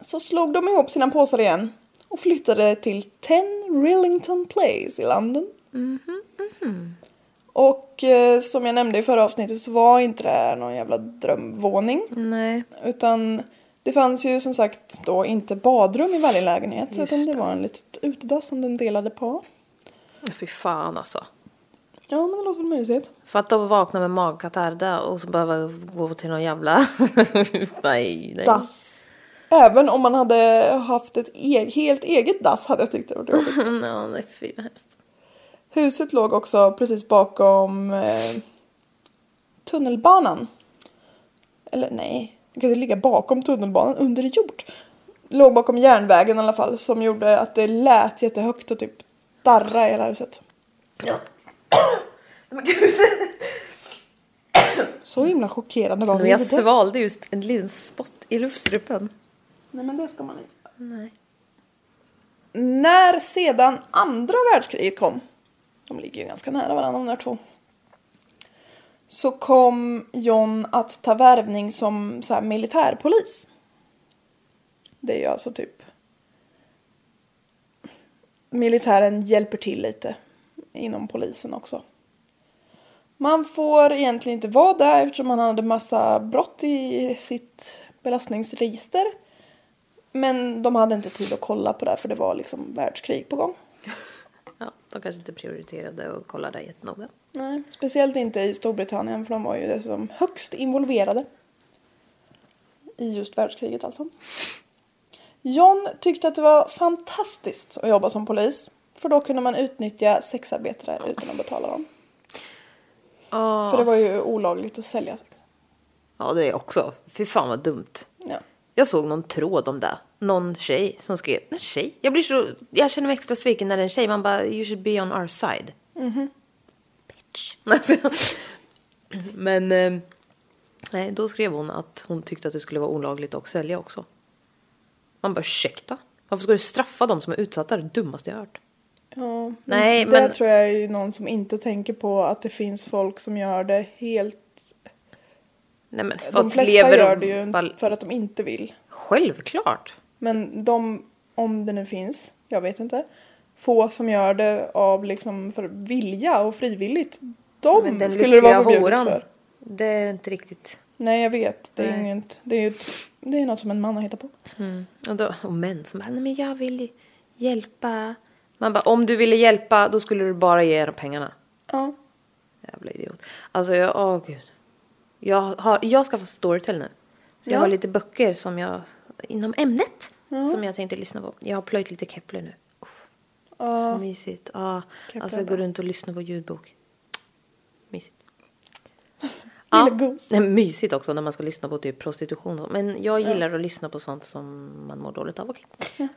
Speaker 1: Så slog de ihop sina påsar igen och flyttade till 10 Rillington Place i London. Mhm, Och eh, som jag nämnde i förra avsnittet så var inte det här någon jävla drömvåning.
Speaker 2: Nej.
Speaker 1: Utan det fanns ju som sagt då inte badrum i varje lägenhet utan det var en litet utedass som de delade på.
Speaker 2: Fy fan alltså.
Speaker 1: Ja men det låter väl mysigt.
Speaker 2: För att de vaknar med magkatarr där och så behöver gå till någon jävla... nej, nej.
Speaker 1: dass. Även om man hade haft ett e- helt eget dass hade jag tyckt det var jobbigt.
Speaker 2: Ja, nej fy vad hemskt.
Speaker 1: Huset låg också precis bakom eh, tunnelbanan. Eller nej, det kan inte ligga bakom tunnelbanan, under jord. Låg bakom järnvägen i alla fall som gjorde att det lät jättehögt och typ starra i hela huset.
Speaker 2: Men gud.
Speaker 1: Så himla chockerande var
Speaker 2: Men jag svalde just en liten spott i luftstrupen.
Speaker 1: Nej men det ska man inte.
Speaker 2: Nej.
Speaker 1: När sedan andra världskriget kom, de ligger ju ganska nära varandra de där två, så kom John att ta värvning som så här, militärpolis. Det är ju alltså typ militären hjälper till lite inom polisen också. Man får egentligen inte vara där eftersom han hade massa brott i sitt belastningsregister. Men de hade inte tid att kolla på det här, för det var liksom världskrig på gång.
Speaker 2: Ja, de kanske inte prioriterade och kollade jättenoga.
Speaker 1: Nej. Speciellt inte i Storbritannien för de var ju dessutom högst involverade. I just världskriget alltså. John tyckte att det var fantastiskt att jobba som polis. För då kunde man utnyttja sexarbetare utan att betala dem. För det var ju olagligt att sälja sex.
Speaker 2: Ja, det är också. Fy fan vad dumt.
Speaker 1: Ja.
Speaker 2: Jag såg någon tråd om det. Någon tjej som skrev, en tjej? Jag, blir så, jag känner mig extra sviken när det är en tjej. Man bara, you should be on our side.
Speaker 1: Mm-hmm.
Speaker 2: Bitch. Alltså, Men, eh, nej, då skrev hon att hon tyckte att det skulle vara olagligt att sälja också. Man bara, ursäkta? Varför ska du straffa de som är utsatta? Det är det dummaste jag har hört.
Speaker 1: Ja,
Speaker 2: Nej,
Speaker 1: det
Speaker 2: men-
Speaker 1: tror jag är ju någon som inte tänker på att det finns folk som gör det helt...
Speaker 2: Nej men,
Speaker 1: De
Speaker 2: folk
Speaker 1: flesta
Speaker 2: lever
Speaker 1: gör
Speaker 2: och
Speaker 1: det ju
Speaker 2: bara-
Speaker 1: för att de inte vill.
Speaker 2: Självklart!
Speaker 1: Men de, om det nu finns, jag vet inte, få som gör det av liksom för vilja och frivilligt,
Speaker 2: Men
Speaker 1: de
Speaker 2: den
Speaker 1: skulle det vara
Speaker 2: lyckliga
Speaker 1: förbjudet
Speaker 2: horan,
Speaker 1: för.
Speaker 2: Det är inte riktigt...
Speaker 1: Nej, jag vet. Det är,
Speaker 2: Nej.
Speaker 1: inget, det är ju ett, det är något som en man har hittat på.
Speaker 2: Och, då, och män som bara, nej men jag vill hjälpa. Man bara, om du ville hjälpa då skulle du bara ge dem pengarna.
Speaker 1: Ja.
Speaker 2: Jävla idiot. Alltså jag, åh gud. Jag, har, jag ska få Storytel nu. Så jag
Speaker 1: Ja.
Speaker 2: har lite böcker som jag, inom ämnet, som jag tänkte lyssna på. Jag har plöjt lite Kepler nu. Uff, Så mysigt. Ja,
Speaker 1: Kepler
Speaker 2: alltså jag
Speaker 1: bra.
Speaker 2: går runt och lyssnar på ljudbok. Mysigt.
Speaker 1: Lilla gos.
Speaker 2: nej, mysigt också när man ska lyssna på typ prostitution. och- Men jag gillar att lyssna på sånt som man mår dåligt av. Okej.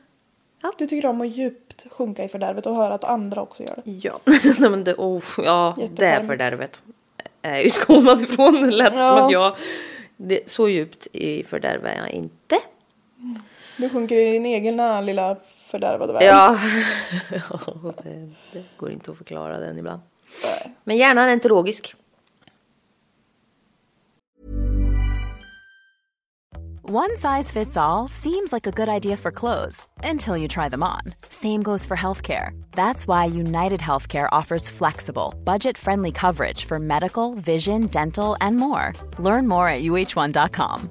Speaker 1: Du tycker om att djupt sjunka i fördärvet och höra att andra också gör det.
Speaker 2: Ja, Nej, men det, oh, ja det
Speaker 1: Jättecharmigt.
Speaker 2: fördärvet är ju skonad ifrån. Det lät som
Speaker 1: Ja.
Speaker 2: att jag... Det, så djupt i fördärv är jag inte.
Speaker 1: Du sjunker i din egna lilla fördärvade värld.
Speaker 2: Ja, det, det går inte att förklara den ibland.
Speaker 1: Nej.
Speaker 2: Men hjärnan är inte logisk.
Speaker 3: One size fits all seems like a good idea for clothes until you try them on. Same goes for healthcare. That's why United Healthcare offers flexible, budget friendly coverage for medical, vision, dental, and more. Learn more at uh1.com.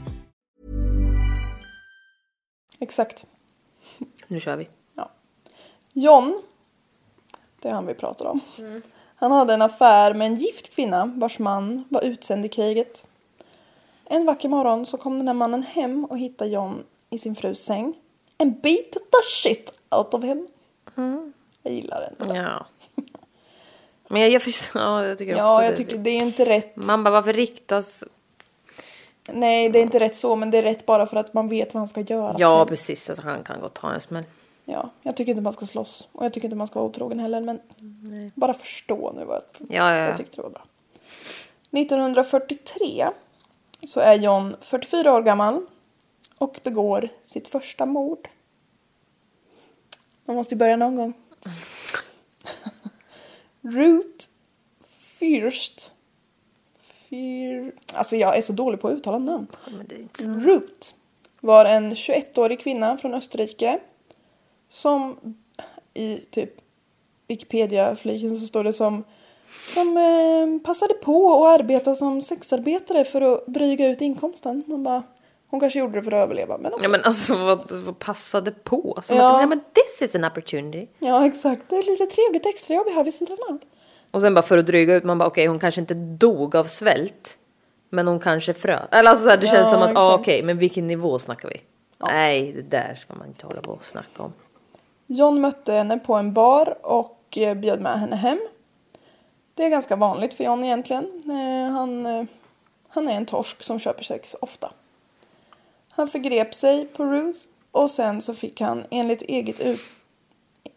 Speaker 1: Exakt.
Speaker 2: Nu kör vi.
Speaker 1: John, det är han vi pratar om. Han hade en affär med en gift kvinna vars man var utsänd i kriget. En vacker morgon så kom den här mannen hem och hittade John i sin frus säng. En bit the shit out of him. Jag gillar den.
Speaker 2: Mm. Ja. Men jag, jag, förstår- ja, jag tycker
Speaker 1: Ja,
Speaker 2: också
Speaker 1: jag
Speaker 2: det.
Speaker 1: tycker det är ju inte rätt.
Speaker 2: Man bara, varför riktas...
Speaker 1: Nej, det är inte rätt så, men det är rätt bara för att man vet vad han ska göra.
Speaker 2: Ja,
Speaker 1: sen.
Speaker 2: precis. Att han kan gå och ta en smäll.
Speaker 1: ja. Jag tycker inte man ska slåss och jag tycker inte man ska vara otrogen heller, men bara förstå nu vad
Speaker 2: Ja, ja, ja.
Speaker 1: jag tyckte det var bra. 1943 så är John 44 år gammal och begår sitt första mord. Man måste ju börja någon gång. Ruth Fürst. Fyr... Alltså jag är så dålig på att uttala namn.
Speaker 2: Men det är inte så.
Speaker 1: Ruth var en 21-årig kvinna från Österrike som i typ Wikipedia-fliken så står det som som eh, passade på att arbeta som sexarbetare för att dryga ut inkomsten. Man bara Hon kanske gjorde det för att överleva men okej.
Speaker 2: Ja men alltså vad, vad passade på? Som
Speaker 1: Ja.
Speaker 2: att nej men this is an opportunity.
Speaker 1: Ja exakt, det är lite trevligt extrajobb här vid sidan av.
Speaker 2: Och sen bara för att dryga ut man bara okej hon kanske inte dog av svält. Men hon kanske frös. Eller alltså så här, det känns
Speaker 1: Ja,
Speaker 2: som att ah,
Speaker 1: exakt.
Speaker 2: okej men vilken nivå snackar vi? Nej det där ska man inte hålla på och snacka om.
Speaker 1: John mötte henne på en bar och eh, bjöd med henne hem. Det är ganska vanligt för John egentligen. Eh, Han, eh, han är en torsk som köper sex ofta. Han förgrep sig på Ruth och sen så fick han enligt, eget ut,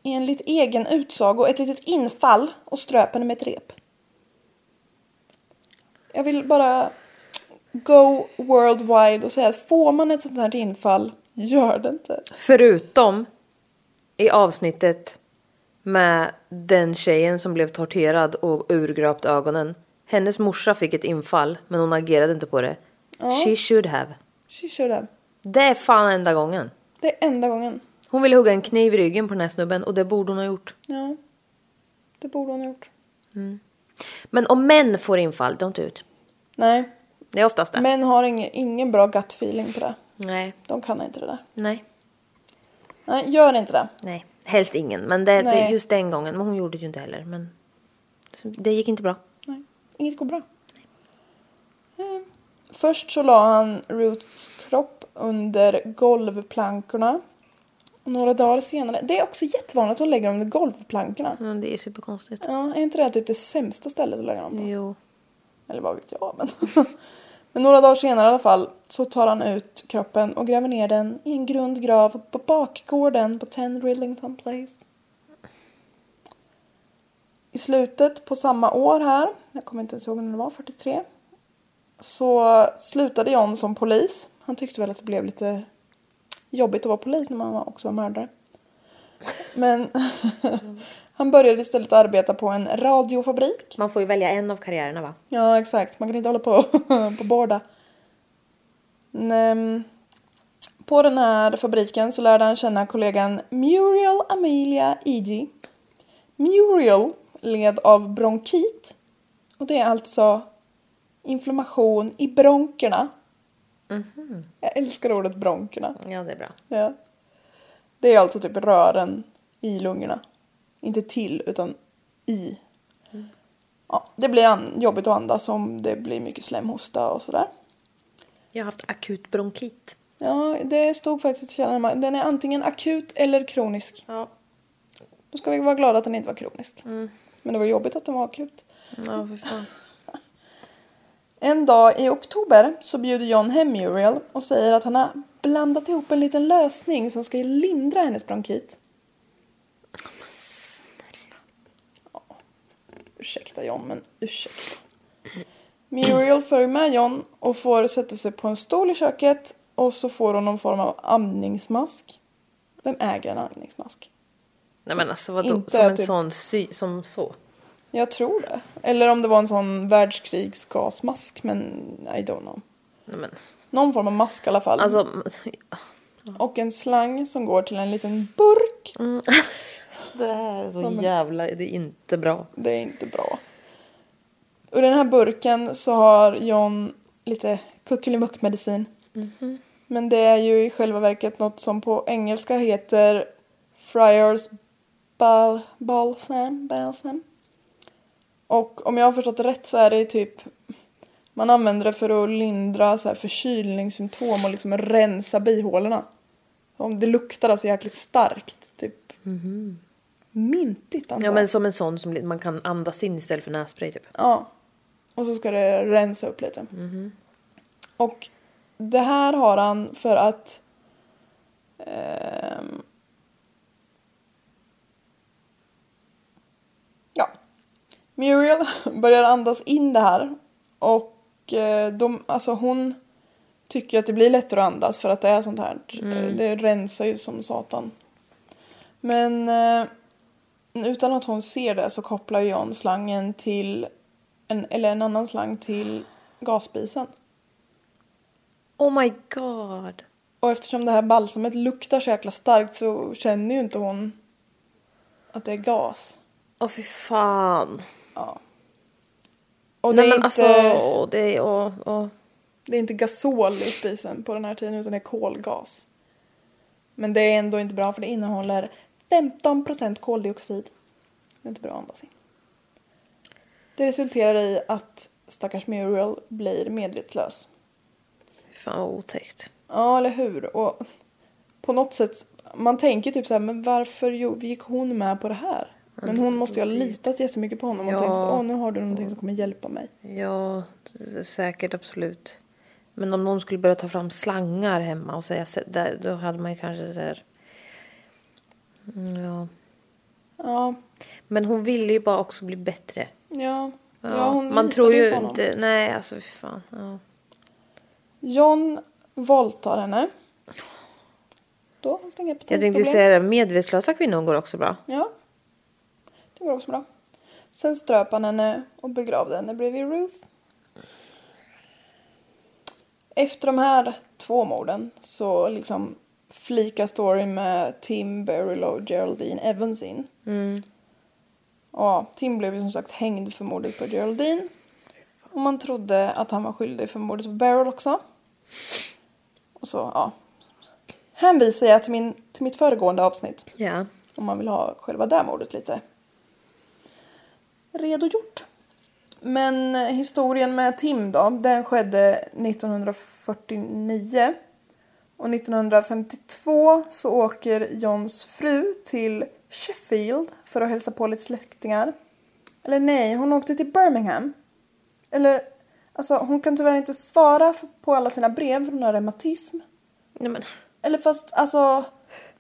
Speaker 1: enligt egen utsago ett litet infall och ströp henne med ett rep. Jag vill bara go worldwide och säga att får man ett sånt här infall, gör det inte.
Speaker 2: Förutom i avsnittet med den tjejen som blev torterad och urgröpt ögonen. Hennes morsa fick ett infall men hon agerade inte på det. She should have.
Speaker 1: She should have.
Speaker 2: Det är fan enda gången.
Speaker 1: Det är enda gången.
Speaker 2: Hon ville hugga en kniv i ryggen på den här snubben och det borde hon ha gjort.
Speaker 1: Ja. Det borde hon ha gjort.
Speaker 2: Men om män får infall, don't do it.
Speaker 1: Nej.
Speaker 2: Det är oftast det.
Speaker 1: Män har ingen, ingen bra gut feeling på det.
Speaker 2: Nej,
Speaker 1: De kan inte det där.
Speaker 2: nej,
Speaker 1: Nej, gör inte det.
Speaker 2: nej. Helst ingen, men det, det,
Speaker 1: Nej.
Speaker 2: just den gången. Men hon gjorde det ju inte heller. Men så det gick inte bra.
Speaker 1: Nej. Inget går bra. Eh, Först så la han Roots kropp under golvplankorna. Och Några dagar senare. Det är också jättevanligt att de lägger dem under golvplankorna.
Speaker 2: Men det är superkonstigt.
Speaker 1: Ja, är inte det typ det sämsta stället att lägga dem på?
Speaker 2: Jo.
Speaker 1: Eller vad vet jag. Men, men några dagar senare i alla fall så tar han ut kroppen och gräver ner den i en grund grav på bakgården på 10 Rillington Place. I slutet på samma år här, jag kommer inte ens ihåg när det var, 43, så slutade John som polis. Han tyckte väl att det blev lite jobbigt att vara polis när man var- också var mördare. Men han började istället arbeta på en radiofabrik.
Speaker 2: Man får ju välja en av karriärerna va?
Speaker 1: Ja, exakt. Man kan inte hålla på på båda. Mm. På den här fabriken så lärde han känna kollegan Muriel Amelia Eady. Muriel led av bronkit. Och det är alltså inflammation i bronkerna. Jag älskar ordet bronkerna.
Speaker 2: Ja, det är bra.
Speaker 1: Ja. Det är alltså typ rören i lungorna. Inte till, utan i. Mm. Ja, det blir an- jobbigt att andas om det blir mycket slemhosta och sådär.
Speaker 2: Jag har haft akut bronkit.
Speaker 1: Ja, det stod faktiskt i källan. Den är antingen akut eller kronisk.
Speaker 2: Ja.
Speaker 1: Då ska vi vara glada att den inte var kronisk. Men det var jobbigt att den var akut.
Speaker 2: Ja, för fan.
Speaker 1: En dag i oktober så bjuder John hem Muriel och säger att han har blandat ihop en liten lösning som ska lindra hennes bronkit. Ja, ursäkta John, men ursäkta. Muriel följer med John och får sätta sig på en stol i köket och så får hon någon form av andningsmask. Vem äger en andningsmask?
Speaker 2: Nej men alltså vadå?
Speaker 1: Inte
Speaker 2: som en
Speaker 1: typ-
Speaker 2: sån sy... Som så?
Speaker 1: Jag tror det. Eller om det var en sån världskrigsgasmask, men I don't know.
Speaker 2: Nej men.
Speaker 1: Någon form av mask i alla fall.
Speaker 2: Alltså.
Speaker 1: Och en slang som går till en liten burk.
Speaker 2: Det här är så jävla... Det är inte bra.
Speaker 1: Det är inte bra. Ur den här burken så har John lite kuckelimuckmedicin.
Speaker 2: Mhm.
Speaker 1: Men det är ju i själva verket något som på engelska heter Friars bal balsam, balsam. Och om jag har förstått det rätt så är det ju typ man använder det för att lindra så här förkylningssymptom och liksom rensa bihålorna. Om det luktar alltså jäkligt starkt. Typ mintigt antar
Speaker 2: Mhm. Ja
Speaker 1: jag.
Speaker 2: men som en sån som li- man kan andas in istället för nässpray typ.
Speaker 1: Ja. Och så ska det rensa upp lite. Och det här har han för att... ehm, ja. Muriel börjar andas in det här. Och eh, de, alltså hon tycker att det blir lättare att andas för att det är sånt här. Det rensar ju som satan. Men... Eh, utan att hon ser det så kopplar John slangen till en, eller en annan slang till gasspisen.
Speaker 2: Oh my god.
Speaker 1: Och eftersom det här balsamet luktar så jäkla starkt så känner ju inte hon att det är gas.
Speaker 2: Åh fy fan.
Speaker 1: Och
Speaker 2: Nej
Speaker 1: det är inte,
Speaker 2: men
Speaker 1: alltså-
Speaker 2: alltså. åh, Det är... Åh, åh.
Speaker 1: Det är inte gasol i spisen på den här tiden utan det är kolgas. Men det är ändå inte bra för det innehåller 15% koldioxid. Det är inte bra att andas in. Det resulterar i att stackars Muriel blir medvetslös.
Speaker 2: Fan vad otäckt.
Speaker 1: Ja, eller hur? Och på något sätt, man tänker typ så här, men varför jo- gick hon med på det här? Men hon måste ju ha litat jättemycket på honom och
Speaker 2: Ja.
Speaker 1: tänkt att åh, nu har du någonting som kommer hjälpa mig.
Speaker 2: Ja, s- säkert absolut. Men om någon skulle börja ta fram slangar hemma och säga så- där, då hade man ju kanske så här. Mm, Ja,
Speaker 1: Ja,
Speaker 2: men hon ville ju bara också bli bättre.
Speaker 1: ja.
Speaker 2: Ja,
Speaker 1: ja hon
Speaker 2: man
Speaker 1: litade
Speaker 2: tror ju
Speaker 1: på honom.
Speaker 2: inte. Nej, alltså fy fan. Ja.
Speaker 1: John våldtar henne. Då finns det inga
Speaker 2: Jag tänkte
Speaker 1: potensproblem.
Speaker 2: säga det, medvetslösa kvinnor går också bra.
Speaker 1: Ja. Det går också bra. Sen ströp han henne och begravde henne bredvid Ruth. Efter de här två morden så liksom flikar storyn med Tim Beryl och Geraldine Evans in. Ja, Tim blev ju som sagt hängd för mordet på Geraldine. Och man trodde att han var skyldig för mordet på Beryl också. Och så, ja. Hänvisar jag till, min, till mitt föregående avsnitt
Speaker 2: Ja.
Speaker 1: om man vill ha själva det mordet lite redogjort. Men eh, historien med Tim då, den skedde 1949. Och 1952 så åker Johns fru till Sheffield för att hälsa på lite släktingar. Eller nej, hon åkte till Birmingham. Eller, alltså hon kan tyvärr inte svara f- på alla sina brev för hon har reumatism.
Speaker 2: Nej, men.
Speaker 1: Eller fast alltså,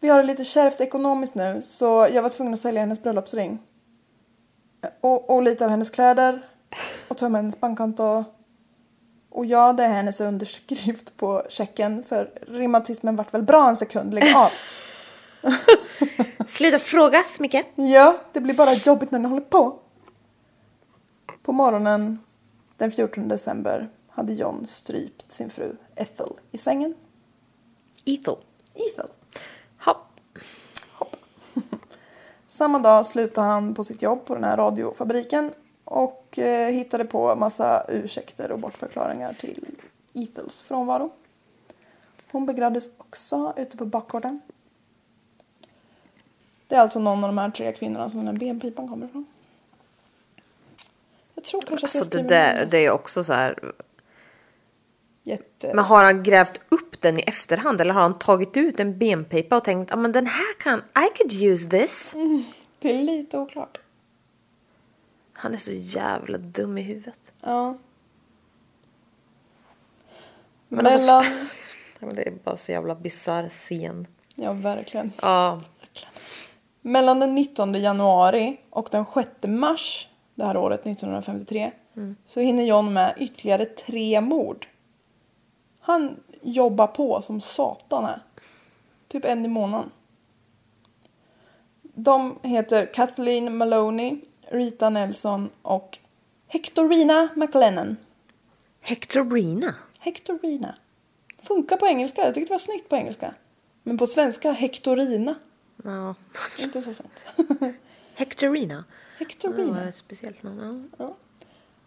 Speaker 1: vi har det lite kärvt ekonomiskt nu så jag var tvungen att sälja hennes bröllopsring. Och, och lite av hennes kläder och tömma hennes bankkonto. Och ja, det är hennes underskrift på checken för reumatismen vart väl bra en sekund, lägg av.
Speaker 2: Sluta fråga Smicke.
Speaker 1: Ja, det blir bara jobbigt när ni håller på. På morgonen den 14 december hade John strypt sin fru Ethel i sängen.
Speaker 2: Ethel.
Speaker 1: Ethel.
Speaker 2: Hopp.
Speaker 1: Samma dag slutade han på sitt jobb på den här radiofabriken och eh, hittade på massa ursäkter och bortförklaringar till Ethels frånvaro. Hon begravdes också ute på bakgården. Det är alltså någon av de här tre kvinnorna som den här benpipan kommer ifrån. Jag tror kanske att jag
Speaker 2: Alltså det
Speaker 1: skriver
Speaker 2: där,
Speaker 1: ner
Speaker 2: det är också så här.
Speaker 1: Jätte...
Speaker 2: Men har han grävt upp den i efterhand eller har han tagit ut en benpipa och tänkt att men den här kan, I could use this.
Speaker 1: Det är lite oklart.
Speaker 2: Han är så jävla dum i huvudet.
Speaker 1: Ja.
Speaker 2: Men alltså-
Speaker 1: Mellan...
Speaker 2: Ja, men Det är bara så jävla bisarr scen.
Speaker 1: Ja, verkligen.
Speaker 2: Ja,
Speaker 1: Mellan den 19 januari och den 6 mars det här året, 1953, så hinner John med ytterligare tre mord. Han jobbar på som satan här. Typ en i månaden. De heter Kathleen Maloney, Rita Nelson och Hectorina McLennan.
Speaker 2: Hectorina.
Speaker 1: Hectorina. Funkar på engelska. Jag tyckte det var snyggt på engelska. Men på svenska, Hectorina.
Speaker 2: Ja.
Speaker 1: Inte så fint.
Speaker 2: Hectorina.
Speaker 1: Hectorina.
Speaker 2: Ja, speciellt namn. Ja.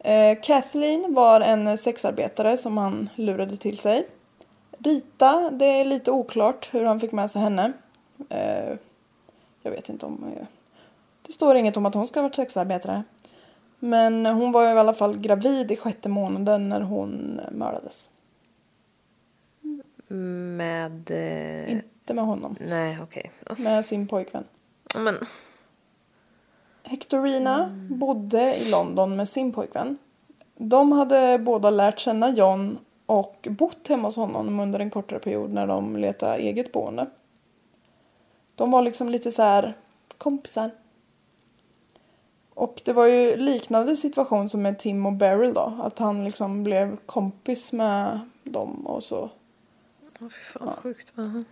Speaker 1: Eh, Kathleen var en sexarbetare som han lurade till sig. Rita, det är lite oklart hur han fick med sig henne. Eh, jag vet inte om... Eh, det står inget om att hon ska ha varit sexarbetare. Men hon var i alla fall gravid i sjätte månaden när hon mördades.
Speaker 2: Med... Eh,
Speaker 1: Inte med honom,
Speaker 2: Nej, okej.
Speaker 1: med sin pojkvän.
Speaker 2: Ja, Men
Speaker 1: Hectorina bodde i London med sin pojkvän. De hade båda lärt känna John och bott hemma hos honom under en kortare period när de letade eget boende. De var liksom lite så här kompisar. Och det var ju liknande situation som med Tim och Beryl då. Att han liksom blev kompis med dem och så
Speaker 2: oh, fy fan vad sjukt. Aha.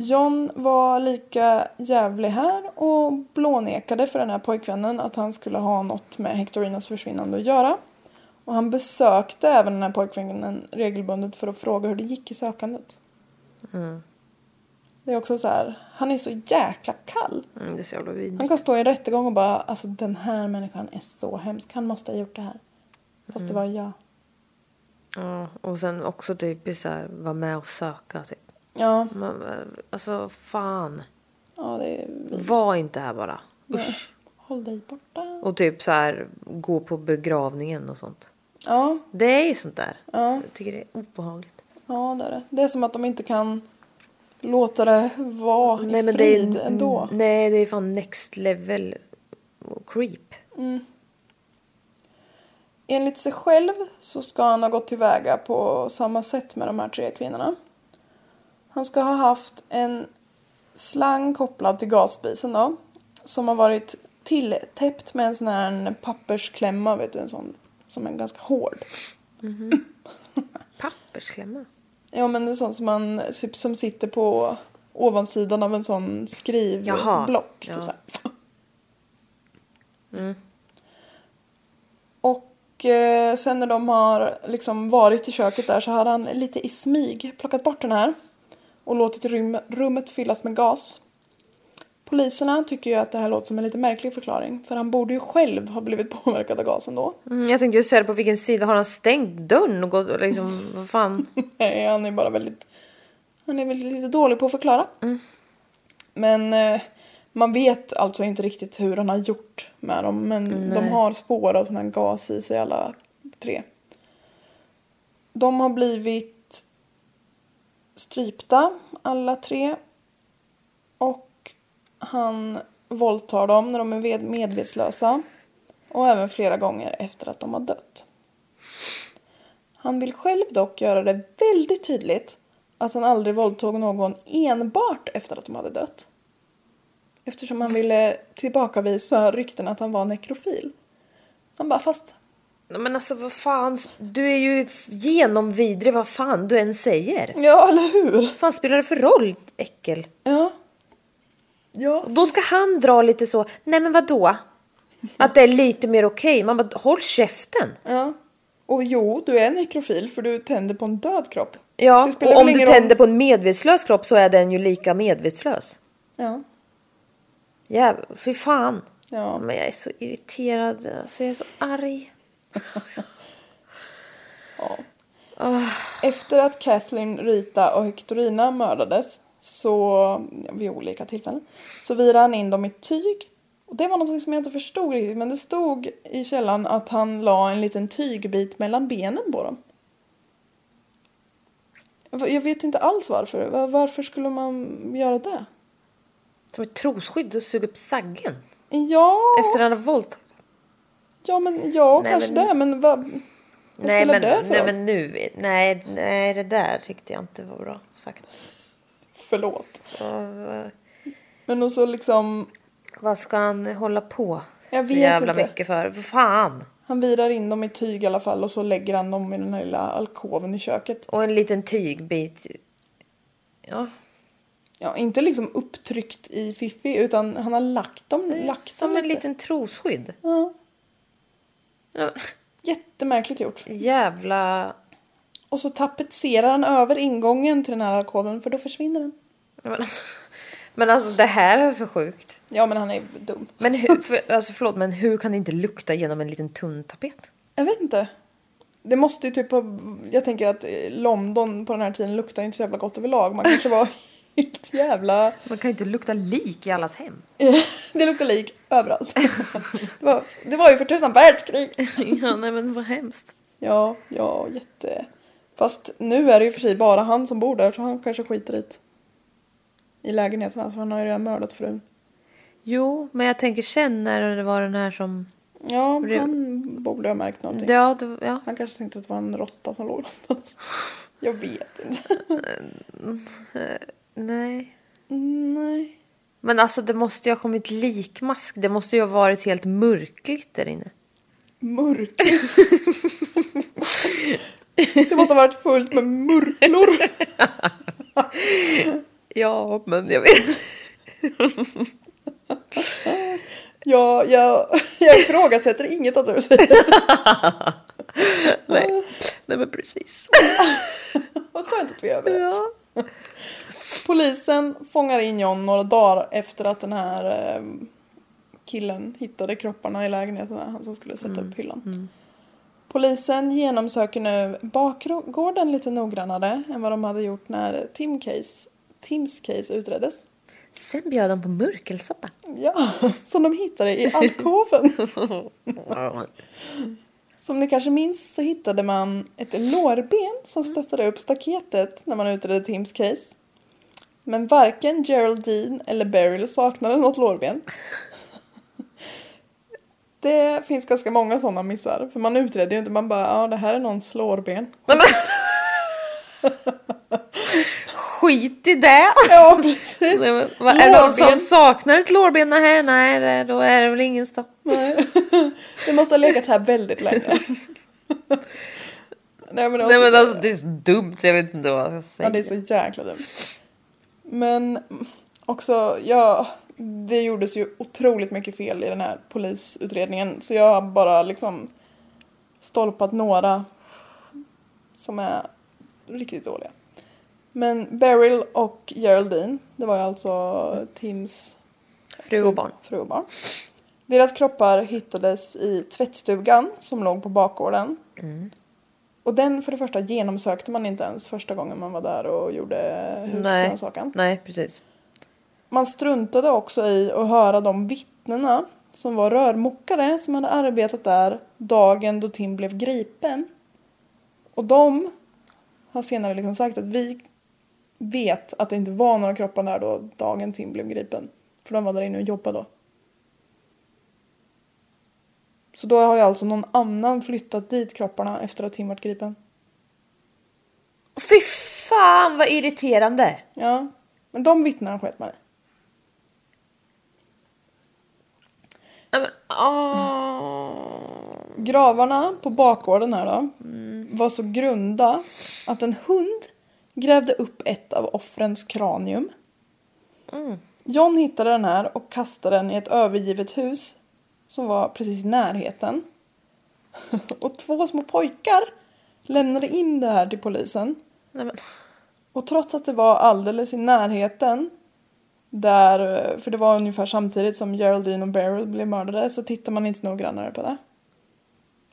Speaker 1: John var lika jävlig här och blånekade för den här pojkvännen att han skulle ha något med Hectorinas försvinnande att göra. Och han besökte även den här pojkvännen regelbundet för att fråga hur det gick i sökandet. Mm. Det är också så här, han är så jäkla kall.
Speaker 2: Mm, det är så jävla
Speaker 1: Han
Speaker 2: vidrigt.
Speaker 1: kan stå i en rättegång och bara, alltså Mm. den här människan är så hemsk, han måste ha gjort det här. Fast det var jag.
Speaker 2: Ja, och sen också typ så här, vara med och söka typ.
Speaker 1: Ja,
Speaker 2: Man, alltså fan.
Speaker 1: ja det är vi.
Speaker 2: Var inte här bara. Usch.
Speaker 1: Håll dig borta.
Speaker 2: Och typ så här gå på begravningen och sånt.
Speaker 1: Ja,
Speaker 2: Det är ju sånt där.
Speaker 1: Ja.
Speaker 2: Jag tycker det är obehagligt.
Speaker 1: ja det är det. Det är som att de inte kan låta det vara i frid ändå.
Speaker 2: Nej, det är fan next level creep.
Speaker 1: Enligt sig själv så ska han ha gått tillväga på samma sätt med de här tre kvinnorna. Han ska ha haft en slang kopplad till gasspisen då. Som har varit tilltäppt med en sån här pappersklämma, vet du, en sån som är ganska hård.
Speaker 2: Pappersklämma.
Speaker 1: Ja men en sån som man typ, som sitter på ovansidan av en sån
Speaker 2: Jaha,
Speaker 1: skrivblock. Typ
Speaker 2: ja.
Speaker 1: så här. Och eh, sen när de har liksom varit i köket där så hade han lite i smyg plockat bort den här och låtit rym- rummet fyllas med gas. Poliserna tycker ju att det här låter som en lite märklig förklaring för han borde ju själv ha blivit påverkad av gasen då.
Speaker 2: Mm, jag tänkte just säga det, på vilken sida har han stängt dörren och gått och liksom vad fan.
Speaker 1: Nej, han är bara väldigt... Han är väl lite dålig på att förklara. Men eh, man vet alltså inte riktigt hur han har gjort med dem. Men de har spår av sån här gas i sig alla tre. De har blivit strypta alla tre. Och han våldtar dem när de är ved- medvetslösa. Och även flera gånger efter att de har dött. Han vill själv dock göra det väldigt tydligt att han aldrig våldtog någon enbart efter att de hade dött. Eftersom han ville tillbakavisa rykten att han var nekrofil. Han bara, fast
Speaker 2: Nej, Men alltså vad fan, du är ju genomvidrig vad fan du än säger.
Speaker 1: ja, eller hur?
Speaker 2: Vad fan spelar det för roll äckel?
Speaker 1: Ja. Ja.
Speaker 2: Då ska han dra lite så, nej men vadå? Att det är lite mer okej. Man bara håll käften.
Speaker 1: ja. Och jo, du är nekrofil för du tänder på en död kropp.
Speaker 2: Ja,
Speaker 1: Det spelar
Speaker 2: och om
Speaker 1: väl
Speaker 2: du
Speaker 1: ingen roll-
Speaker 2: tänder på en medvetslös kropp så är den ju lika medvetslös.
Speaker 1: Ja.
Speaker 2: Ja, fy fan.
Speaker 1: Ja.
Speaker 2: Men jag är så irriterad, alltså jag är så arg.
Speaker 1: Efter att Kathleen, Rita och Hectorina mördades så, vid olika tillfällen, så virade han in dem i tyg. Och det var något som jag inte förstod riktigt men det stod i källan att han la en liten tygbit mellan benen på dem. Jag jag vet inte alls varför. Va- Varför skulle man göra det?
Speaker 2: Som ett trosskydd och suga upp saggen.
Speaker 1: Ja,
Speaker 2: Efter han har våldtagit.
Speaker 1: ja men ja,
Speaker 2: Nej,
Speaker 1: kanske
Speaker 2: men-
Speaker 1: det men vad, vad
Speaker 2: Nej
Speaker 1: spelar
Speaker 2: men,
Speaker 1: det för
Speaker 2: nej
Speaker 1: roll?
Speaker 2: men nu, nej, nej det där tyckte jag inte var bra sagt.
Speaker 1: Förlåt.
Speaker 2: Och, eh,
Speaker 1: Men och så liksom,
Speaker 2: vad ska han hålla på
Speaker 1: Jag
Speaker 2: så
Speaker 1: vet
Speaker 2: jävla
Speaker 1: inte.
Speaker 2: mycket för? Vad fan!
Speaker 1: han virar in dem i tyg i alla fall och så lägger han dem i den här lilla alkoven i köket.
Speaker 2: Och en liten tygbit. Ja,
Speaker 1: Ja, inte liksom upptryckt i fiffi utan han har lagt dem,
Speaker 2: Mm,
Speaker 1: lagt
Speaker 2: som
Speaker 1: dem
Speaker 2: en
Speaker 1: lite.
Speaker 2: liten trosskydd.
Speaker 1: Ja,
Speaker 2: Ja,
Speaker 1: jättemärkligt gjort.
Speaker 2: Jävla...
Speaker 1: Och så tapetserar han över ingången till den här alkoven för då försvinner den.
Speaker 2: Men alltså, men alltså det här är så sjukt.
Speaker 1: Ja, men han är dum.
Speaker 2: Men hur, för, alltså förlåt, men hur kan det inte lukta genom en liten tunn tapet?
Speaker 1: Jag vet inte. Det måste ju typ ha, jag tänker att eh, London på den här tiden luktar ju inte så jävla gott överlag. Man kanske var helt jävla...
Speaker 2: Man kan ju inte lukta lik i allas hem.
Speaker 1: Det luktar lik överallt. Det var, det var ju för tusan världskrig!
Speaker 2: ja, nej men vad hemskt.
Speaker 1: Ja, ja, jätte... Fast nu är det ju för sig bara han som bor där så han kanske skiter i det. I lägenheterna, så han har ju redan mördat frun.
Speaker 2: Jo, men jag tänker sen när det var den här som...
Speaker 1: Ja,
Speaker 2: Det-
Speaker 1: han borde ha märkt någonting.
Speaker 2: Ja, det, ja.
Speaker 1: Han kanske tänkte att det var en råtta som låg någonstans. Jag vet inte.
Speaker 2: Nej.
Speaker 1: Nej.
Speaker 2: Men alltså det måste ju ha kommit likmask. Det måste ju ha varit helt mörkligt där inne.
Speaker 1: Mörkligt. Det måste ha varit fullt med murklor.
Speaker 2: Ja, men jag vet.
Speaker 1: Jag, jag, jag ifrågasätter inget av det du säger.
Speaker 2: Nej, nej men precis.
Speaker 1: Vad skönt att vi är överens.
Speaker 2: Ja.
Speaker 1: Polisen fångar in John några dagar efter att den här eh, killen hittade kropparna i lägenheten, där, han som skulle sätta upp hyllan. Polisen genomsöker nu bakgården lite noggrannare än vad de hade gjort när Tim case, Tims case utreddes.
Speaker 2: Sen bjöd de på mörkelsoppa.
Speaker 1: Ja, som de hittade i alkoven. Som ni kanske minns så hittade man ett lårben som
Speaker 2: Mm.
Speaker 1: stöttade upp staketet när man utredde Tims case. Men varken Geraldine eller Beryl saknade något lårben. Det finns ganska många sådana missar. För man utreder ju inte, man bara ja det här är någons lårben.
Speaker 2: Skit i det!
Speaker 1: Ja precis.
Speaker 2: Nej, men, vad, är det någon
Speaker 1: Lårben.
Speaker 2: som saknar ett lårben? Nej, nej, det- då är det väl ingen stopp.
Speaker 1: Det måste ha legat här väldigt länge. Nej men, det var
Speaker 2: Nej
Speaker 1: så-
Speaker 2: men alltså det är så dumt, jag vet inte vad jag ska säga.
Speaker 1: Ja, det är så jäkla dumt. Men också, ja, det gjordes ju otroligt mycket fel i den här polisutredningen så jag har bara liksom stolpat några som är riktigt dåliga. Men Beryl och Geraldine, det var ju alltså Tims
Speaker 2: Fru och barn.
Speaker 1: fru och barn. Deras kroppar hittades i tvättstugan som låg på bakgården. Och den för det första genomsökte man inte ens första gången man var där och gjorde
Speaker 2: Nej.
Speaker 1: husrannsakan.
Speaker 2: nej, precis.
Speaker 1: Man struntade också i att höra de vittnena som var rörmokare som hade arbetat där dagen då Tim blev gripen. Och de har senare liksom sagt att vi vet att det inte var några kroppar där då dagen Tim blev gripen. För de var där inne och jobbade då. Så då har ju alltså någon annan flyttat dit kropparna efter att Tim vart gripen.
Speaker 2: Fy fan vad irriterande!
Speaker 1: Ja, men de vittnena sket man i.
Speaker 2: Nej, men, åh.
Speaker 1: Gravarna på bakgården här då var så grunda att en hund grävde upp ett av offrens kranium. John hittade den här och kastade den i ett övergivet hus som var precis i närheten. och två små pojkar lämnade in det här till polisen.
Speaker 2: Nej, men.
Speaker 1: Och trots att det var alldeles i närheten där, för det var ungefär samtidigt som Geraldine och Beryl blev mördade så tittar man inte noggrannare på det.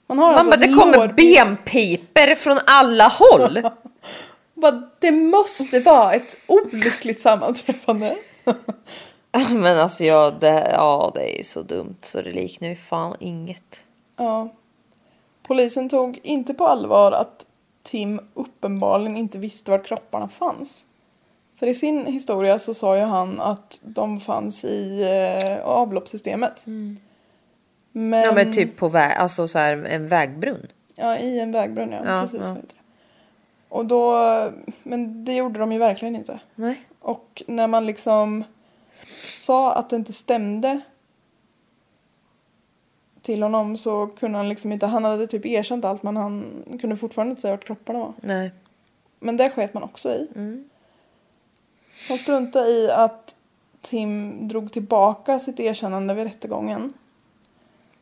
Speaker 1: Man har alltså
Speaker 2: Man bara,
Speaker 1: ett
Speaker 2: det kommer
Speaker 1: lårben-
Speaker 2: benpiper från alla håll!
Speaker 1: Bara, det måste vara ett olyckligt sammanträffande.
Speaker 2: men alltså ja det, ja, det är så dumt så det liknar ju fan inget.
Speaker 1: Ja. Polisen tog inte på allvar att Tim uppenbarligen inte visste var kropparna fanns. För i sin historia så sa ju han att de fanns i eh, avloppssystemet. Men,
Speaker 2: Mm. Ja men typ på väg, alltså så här, en vägbrunn.
Speaker 1: Ja, i en vägbrunn ja.
Speaker 2: Ja,
Speaker 1: Precis,
Speaker 2: ja.
Speaker 1: vad heter det. Och då, men det gjorde de ju verkligen inte.
Speaker 2: Nej.
Speaker 1: Och när man liksom sa att det inte stämde till honom så kunde han liksom inte, han hade typ erkänt allt men han kunde fortfarande inte säga vart kropparna var.
Speaker 2: Nej.
Speaker 1: Men det sket man också i. Han struntade i att Tim drog tillbaka sitt erkännande vid rättegången.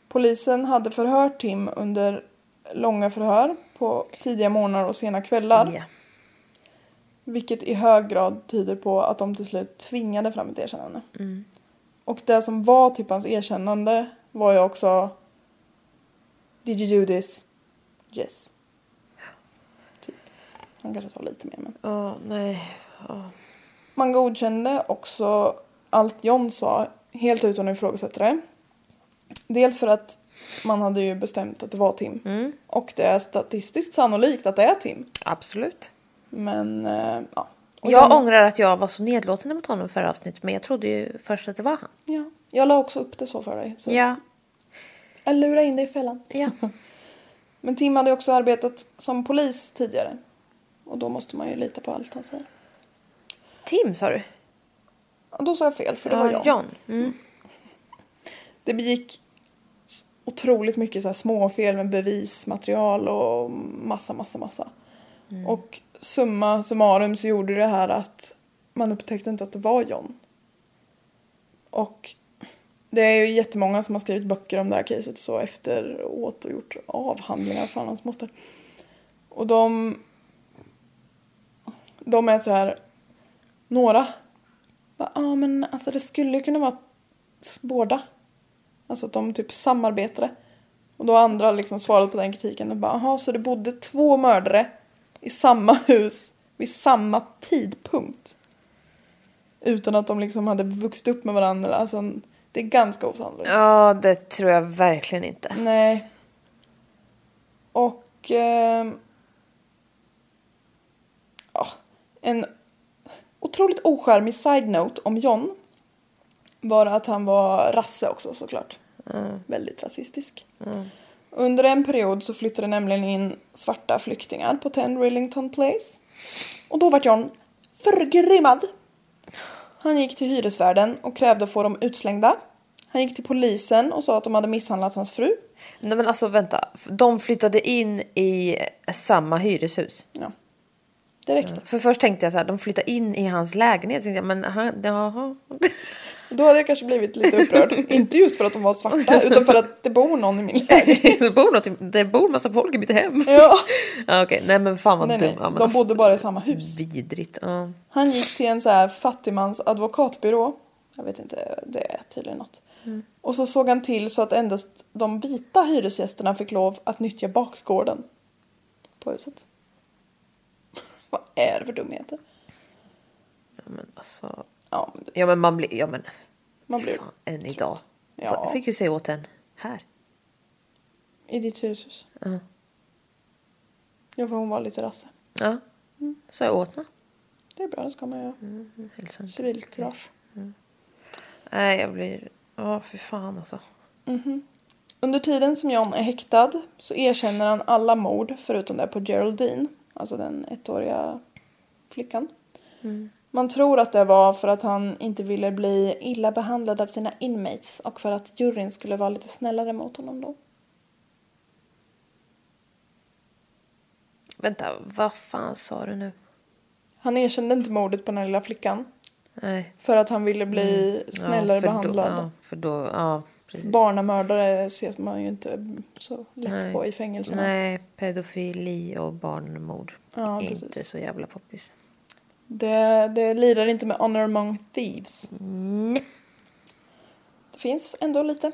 Speaker 1: Polisen hade förhört Tim under långa förhör på tidiga morgnar och sena kvällar.
Speaker 2: Ja.
Speaker 1: Vilket i hög grad tyder på att de till slut tvingade fram ett erkännande. Och det som var typ hans erkännande var ju också Did you do this? Yes. Typ. Han kanske sa lite mer men.
Speaker 2: Ja, nej.
Speaker 1: Man godkände också allt John sa helt utan att ifrågasätta det. Dels för att man hade ju bestämt att det var Tim.
Speaker 2: Mm.
Speaker 1: Och det är statistiskt sannolikt att det är Tim.
Speaker 2: Absolut.
Speaker 1: Men eh, ja. Och
Speaker 2: Jag
Speaker 1: John-
Speaker 2: ångrar att jag var så nedlåtande mot honom förra avsnittet men jag trodde ju först att det var han.
Speaker 1: Ja. Jag la också upp det så för dig. Så
Speaker 2: Ja.
Speaker 1: Jag lurade in dig i fällan.
Speaker 2: ja.
Speaker 1: Men Tim hade också arbetat som polis tidigare. Och då måste man ju lita på allt han säger.
Speaker 2: Tim sa du?
Speaker 1: Och då sa jag fel, för det var
Speaker 2: Ja,
Speaker 1: jag.
Speaker 2: John. Mm.
Speaker 1: Det begick s- otroligt mycket så här småfel med bevismaterial och massa, massa, massa. Och summa summarum så gjorde det här att man upptäckte inte att det var John. Och det är ju jättemånga som har skrivit böcker om det här caset så efteråt och gjort avhandlingar för hans moster. Och de... De är så här... Några. Ja ah, men alltså det skulle ju kunna vara s- båda. Alltså att de typ samarbetade. Och då har andra liksom svarat på den kritiken och bara aha, så det bodde två mördare i samma hus vid samma tidpunkt. Utan att de liksom hade vuxit upp med varandra. Alltså, det är ganska osannolikt.
Speaker 2: Ja, det tror jag verkligen inte.
Speaker 1: Nej. Och... ehm, ja, en otroligt ocharmig side-note om John var att han var rasse också såklart. Väldigt rasistisk. Under en period så flyttade nämligen in svarta flyktingar på 10 Rillington Place. Och då var John förgrymmad. Han gick till hyresvärden och krävde att få dem utslängda. Han gick till polisen och sa att de hade misshandlat hans fru.
Speaker 2: Nej men alltså vänta, de flyttade in i samma hyreshus.
Speaker 1: Ja. Det räckte.
Speaker 2: För först tänkte jag så här, de flyttade in i hans lägenhet. Så Tänkte jag, men han, jaha.
Speaker 1: Då hade jag kanske blivit lite upprörd. Inte just för att de var svarta utan för att det bor någon i min lägenhet.
Speaker 2: det, bor något, i- det bor massa folk i mitt hem.
Speaker 1: Ja.
Speaker 2: Ja, Okej, nej men fan vad
Speaker 1: Nej,
Speaker 2: dum.
Speaker 1: nej.
Speaker 2: Ja, men alltså,
Speaker 1: De bodde bara i samma hus.
Speaker 2: Vidrigt. Ja.
Speaker 1: Han gick till en så här fattigmans advokatbyrå. Jag vet inte, det är tydligen något.
Speaker 2: Mm.
Speaker 1: Och så såg han till så att endast de vita hyresgästerna fick lov att nyttja bakgården på huset. Vad är det för dumheter?
Speaker 2: Alltså,
Speaker 1: Ja, men du-
Speaker 2: ja men man blir, ja men
Speaker 1: man blir
Speaker 2: fan än idag.
Speaker 1: Ja.
Speaker 2: Jag fick ju säga åt en här.
Speaker 1: i ditt hyreshus.
Speaker 2: Ja.
Speaker 1: Ja, för hon var lite rasse.
Speaker 2: Ja, sa jag åt henne.
Speaker 1: Det är bra, det ska man göra.
Speaker 2: Hälsa inte.
Speaker 1: Civilkurage.
Speaker 2: Nej jag blir, ja för fan alltså.
Speaker 1: Under tiden som John är häktad så erkänner han alla mord förutom det på Geraldine, alltså den ettåriga flickan.
Speaker 2: Mm.
Speaker 1: Man tror att det var för att han inte ville bli illa behandlad av sina inmates och för att juryn skulle vara lite snällare mot honom då.
Speaker 2: Vänta, vad fan sa du nu?
Speaker 1: Han erkände inte mordet på den här lilla flickan
Speaker 2: Nej.
Speaker 1: för att han ville bli
Speaker 2: Mm. Ja,
Speaker 1: snällare
Speaker 2: för då-
Speaker 1: behandlad.
Speaker 2: Ja, för då, ja precis.
Speaker 1: Barnamördare ses man ju inte så lätt
Speaker 2: Nej.
Speaker 1: på i fängelserna.
Speaker 2: Nej, pedofili och barnmord.
Speaker 1: Ja,
Speaker 2: inte
Speaker 1: precis.
Speaker 2: så jävla poppis.
Speaker 1: Det, det lirar inte med Honor Among Thieves. Det finns ändå lite.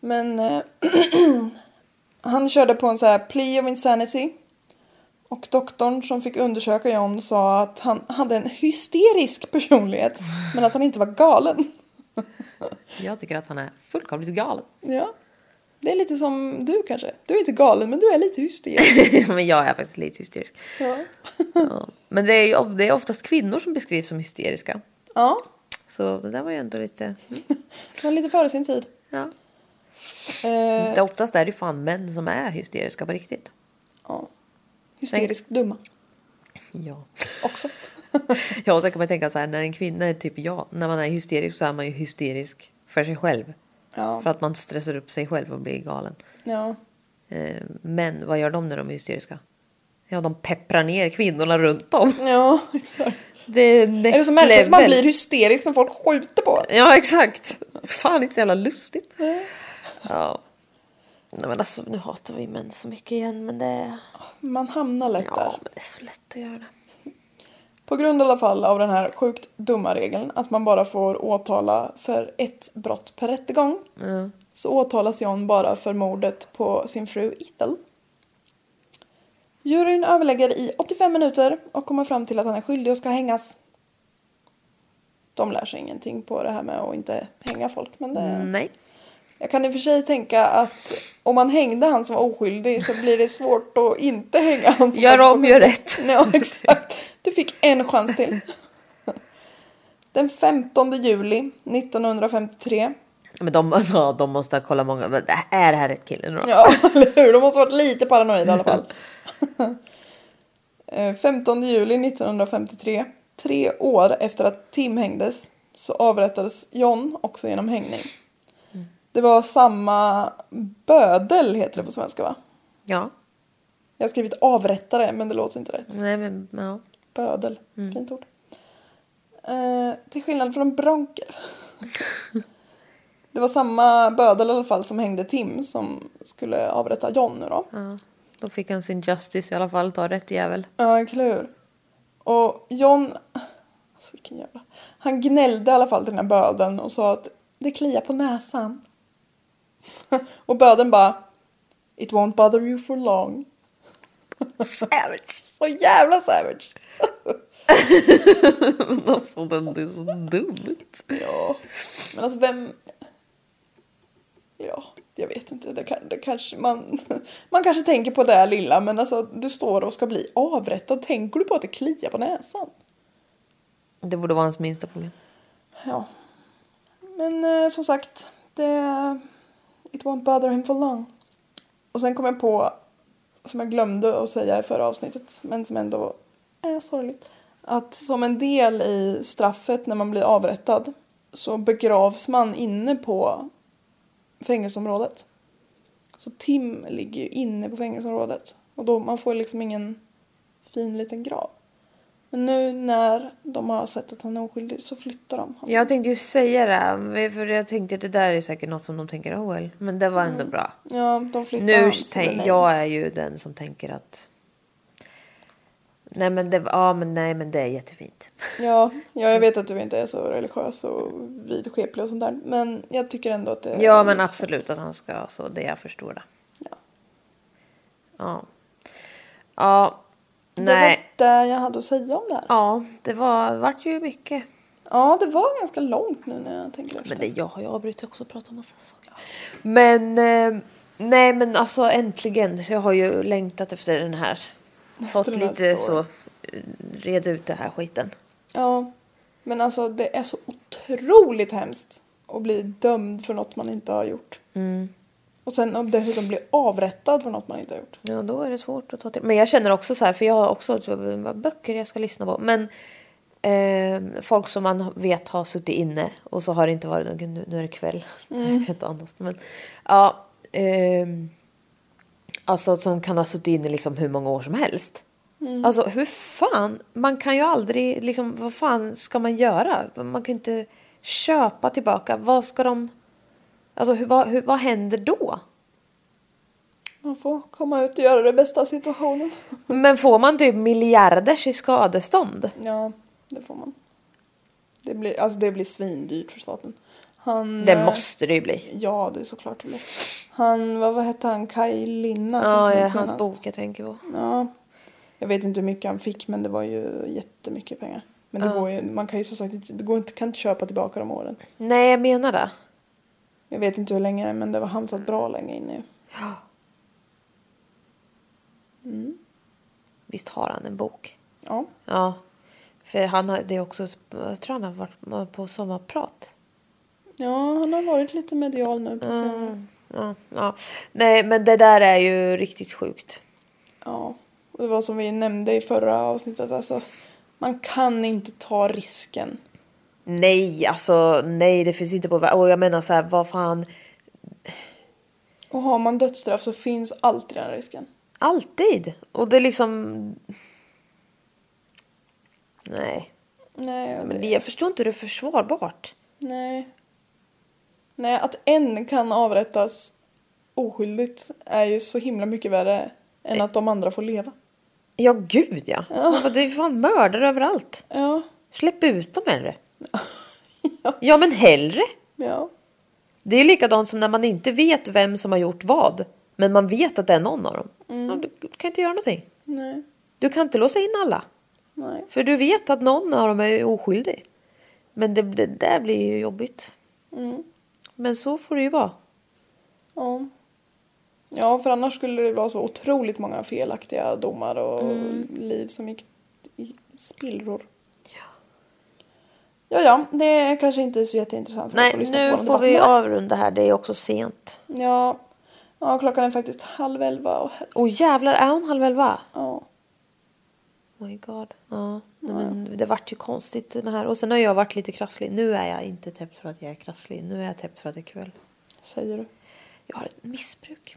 Speaker 1: Men eh, han körde på en så här plea of insanity. Och doktorn som fick undersöka John sa att han hade en hysterisk personlighet men att han inte var galen.
Speaker 2: Jag tycker att han är fullkomligt galen.
Speaker 1: Ja. Det är lite som du kanske. Du är inte galen men du är lite hysterisk.
Speaker 2: men jag är faktiskt lite hysterisk.
Speaker 1: Ja.
Speaker 2: Ja. Men det är, ju, det är oftast kvinnor som beskrivs som hysteriska.
Speaker 1: ja,
Speaker 2: Så det där var ju ändå lite...
Speaker 1: han är lite före sin tid.
Speaker 2: Ja.
Speaker 1: Eh,
Speaker 2: Det oftast är det ju fan män som är hysteriska på riktigt.
Speaker 1: ja. Hysteriskt dumma
Speaker 2: Ja.
Speaker 1: också.
Speaker 2: Ja, och sen kan man tänka så här när en kvinna är typ jag, när man är hysterisk så är man ju hysterisk för sig själv.
Speaker 1: Ja.
Speaker 2: För att man stressar upp sig själv och blir galen.
Speaker 1: Ja.
Speaker 2: Eh, Men vad gör de när de är hysteriska? Ja, de pepprar ner kvinnorna runt om.
Speaker 1: Ja, exakt.
Speaker 2: Det är next
Speaker 1: Är det så märkligt att man
Speaker 2: level.
Speaker 1: blir hysterisk när folk skjuter på en?
Speaker 2: Ja, exakt. Fan, inte så jävla lustigt. Ja. Nej, men alltså, nu hatar vi män så mycket igen, men det...
Speaker 1: Man hamnar lätt
Speaker 2: Ja,
Speaker 1: där.
Speaker 2: men det är så lätt att göra det.
Speaker 1: På grund i alla fall av den här sjukt dumma regeln att man bara får åtala för ett brott per rättegång
Speaker 2: Mm.
Speaker 1: så åtalas John bara för mordet på sin fru Ethel. Juryn överlägger i 85 minuter och kommer fram till att han är skyldig och ska hängas. De lär sig ingenting på det här med att inte hänga folk men det...
Speaker 2: Nej.
Speaker 1: Jag kan i och för sig tänka att om man hängde han som var oskyldig så blir det svårt att inte hänga han som
Speaker 2: Gör
Speaker 1: var
Speaker 2: om, gör rätt.
Speaker 1: Ja, exakt. Du fick en chans till. Den 15 juli 1953.
Speaker 2: Men de, ja, de måste ha kollat många. men det- Är det här rätt kille nu då?
Speaker 1: Ja, eller hur? De måste ha varit lite paranoida i alla fall. Eh, 15 juli 1953, tre år efter att Tim hängdes, så avrättades John också genom hängning.
Speaker 2: Mm.
Speaker 1: Det var samma bödel, heter det på svenska va?
Speaker 2: Ja.
Speaker 1: Jag har skrivit avrättare men det låter inte rätt.
Speaker 2: Nej, men ja.
Speaker 1: Bödel, fint ord. Eh, till skillnad från bronker. det var samma bödel i alla fall som hängde Tim som skulle avrätta John nu då.
Speaker 2: ja. Då fick han sin justice i alla fall. Ta rätt jävel.
Speaker 1: Ja, eller hur? Och John... Alltså vilken jävla... Han gnällde i alla fall till den här bödeln och sa att det kliar på näsan. och bödeln bara, It won't bother you for long.
Speaker 2: Savage!
Speaker 1: Så jävla savage!
Speaker 2: Alltså den, det är så dumt.
Speaker 1: Ja, men alltså vem... Ja, jag vet inte. Det kan, det kanske, man, man kanske tänker på det här lilla, men alltså du står och ska bli avrättad. Tänker du på att det kliar på näsan?
Speaker 2: Det borde vara hans minsta problem.
Speaker 1: Ja. Men eh, som sagt, det... It won't bother him for long. Och sen kom jag på, som jag glömde att säga i förra avsnittet, men som ändå är sorgligt. Att som en del i straffet när man blir avrättad så begravs man inne på fängelseområdet. Så Tim ligger ju inne på fängelseområdet och då man får liksom ingen fin liten grav. Men nu när de har sett att han är oskyldig så flyttar de honom.
Speaker 2: Jag tänkte ju säga det, för jag tänkte det där är säkert något som de tänker oh well, men det var ändå bra.
Speaker 1: Ja, de flyttar alltså,
Speaker 2: Nu
Speaker 1: hans
Speaker 2: tänk,
Speaker 1: remains.
Speaker 2: jag är ju den som tänker att nej men det, ja, men, nej, men det är jättefint.
Speaker 1: Ja, ja, jag vet att du inte är så religiös och vidskeplig och sånt där. Men jag tycker ändå att det är
Speaker 2: Ja men
Speaker 1: lite
Speaker 2: absolut att han ska så, det jag förstår det.
Speaker 1: fint. Ja.
Speaker 2: Ja. Ja.
Speaker 1: Det
Speaker 2: Nej.
Speaker 1: var det jag hade att säga om det här. Ja,
Speaker 2: Ja, det var, vart ju mycket.
Speaker 1: det var ganska långt nu när jag tänker efter.
Speaker 2: Men det, jag har ju avbrutit också och pratat om massa saker. Men eh, nej men alltså äntligen. Så jag har ju längtat efter den här. Fått
Speaker 1: den här
Speaker 2: lite så
Speaker 1: storyn.
Speaker 2: eh, reda ut det här skiten.
Speaker 1: Ja, men alltså det är så otroligt hemskt att bli dömd för något man inte har gjort.
Speaker 2: Mm.
Speaker 1: Och sen om dessutom bli avrättad för något man inte har gjort.
Speaker 2: Ja då är det svårt att ta till. Men jag känner också så här för jag har också typ, vad böcker jag ska lyssna på. Men eh, folk som man vet har suttit inne och så har det inte varit gud, nu, nu är det kväll. Jag kan inte andas. Men, ja, ehm, alltså som kan ha suttit inne liksom hur många år som helst. Alltså hur fan, man kan ju aldrig liksom vad fan ska man göra? Man kan inte köpa tillbaka. Vad ska de, alltså hur, vad, hur, vad händer då?
Speaker 1: Man får komma ut och göra det bästa av situationen.
Speaker 2: Men får man typ miljarders i skadestånd?
Speaker 1: Ja, det får man. Det blir, alltså det blir svindyrt för staten. Han,
Speaker 2: Det
Speaker 1: eh,
Speaker 2: måste det ju bli.
Speaker 1: Ja, det är såklart det blir. Han, vad, vad hette han? Kaj Linna? som
Speaker 2: Ja,
Speaker 1: kom ut
Speaker 2: ja hans
Speaker 1: senast.
Speaker 2: bok jag tänker på.
Speaker 1: Ja. Jag vet inte hur mycket han fick men det var ju jättemycket pengar. Men det går ju, man kan ju som sagt inte- det går inte, kan inte köpa tillbaka de åren.
Speaker 2: Nej, jag menar det.
Speaker 1: Jag vet inte hur länge men det var han satt bra länge inne ju.
Speaker 2: Visst har han en bok?
Speaker 1: Ja.
Speaker 2: Ja. För han har, det är också, jag tror han har varit på sommarprat.
Speaker 1: ja, han har varit lite medial nu på senare.
Speaker 2: Mm. Ja, ja. Nej, men det där är ju riktigt sjukt.
Speaker 1: Ja, och det var som vi nämnde i förra avsnittet alltså. Man kan inte ta risken.
Speaker 2: Nej, alltså nej, det finns inte på vä- Och jag menar så här, vad fan.
Speaker 1: Och har man dödsstraff så finns alltid den risken.
Speaker 2: Alltid. Och det är liksom. Nej,
Speaker 1: Nej, och
Speaker 2: men
Speaker 1: det,
Speaker 2: det, jag förstår inte hur det är försvarbart.
Speaker 1: nej. Nej, att en kan avrättas oskyldigt är ju så himla mycket värre
Speaker 2: Eh.
Speaker 1: än att de andra får leva.
Speaker 2: Ja, gud ja. Man bara, Det är fan mördare överallt.
Speaker 1: Ja,
Speaker 2: Släpp ut dem hellre. Ja, men hellre.
Speaker 1: ja.
Speaker 2: Det är likadant som när man inte vet vem som har gjort vad. Men man vet att det är någon av dem. Ja, du kan inte göra någonting.
Speaker 1: Mm. Nej,
Speaker 2: Du kan inte låsa in alla.
Speaker 1: nej.
Speaker 2: För du vet att någon av dem är oskyldig. Men det, det där blir ju jobbigt.
Speaker 1: Mm.
Speaker 2: Men så får det ju vara.
Speaker 1: Ja. Ja, för annars skulle det vara så otroligt många felaktiga domar och
Speaker 2: Mm.
Speaker 1: liv som gick i spillror. Ja. Ja, ja, det är kanske inte så jätteintressant för er
Speaker 2: Nej,
Speaker 1: att lyssna
Speaker 2: nu
Speaker 1: på
Speaker 2: får
Speaker 1: vår
Speaker 2: vi
Speaker 1: debatt.
Speaker 2: avrunda här. Det är också sent.
Speaker 1: Ja. ja, klockan är faktiskt halv elva och här...
Speaker 2: Och jävlar, är hon halv elva?
Speaker 1: ja.
Speaker 2: Oh my god. Ja. Nej, men det vart ju konstigt den här. Och sen har jag varit lite krasslig. Nu är jag inte täppt för att jag är krasslig. Nu är jag täppt för att det är kväll.
Speaker 1: säger du.
Speaker 2: Jag har ett missbruk.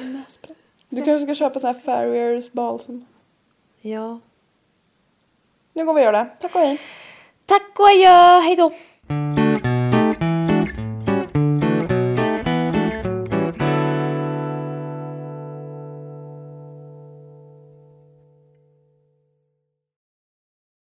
Speaker 1: Nässpray. Du kanske ska köpa så här Farriers balsam.
Speaker 2: Ja.
Speaker 1: Nu går vi och gör det. Tack och hej.
Speaker 2: Tack och adjö. Hej då.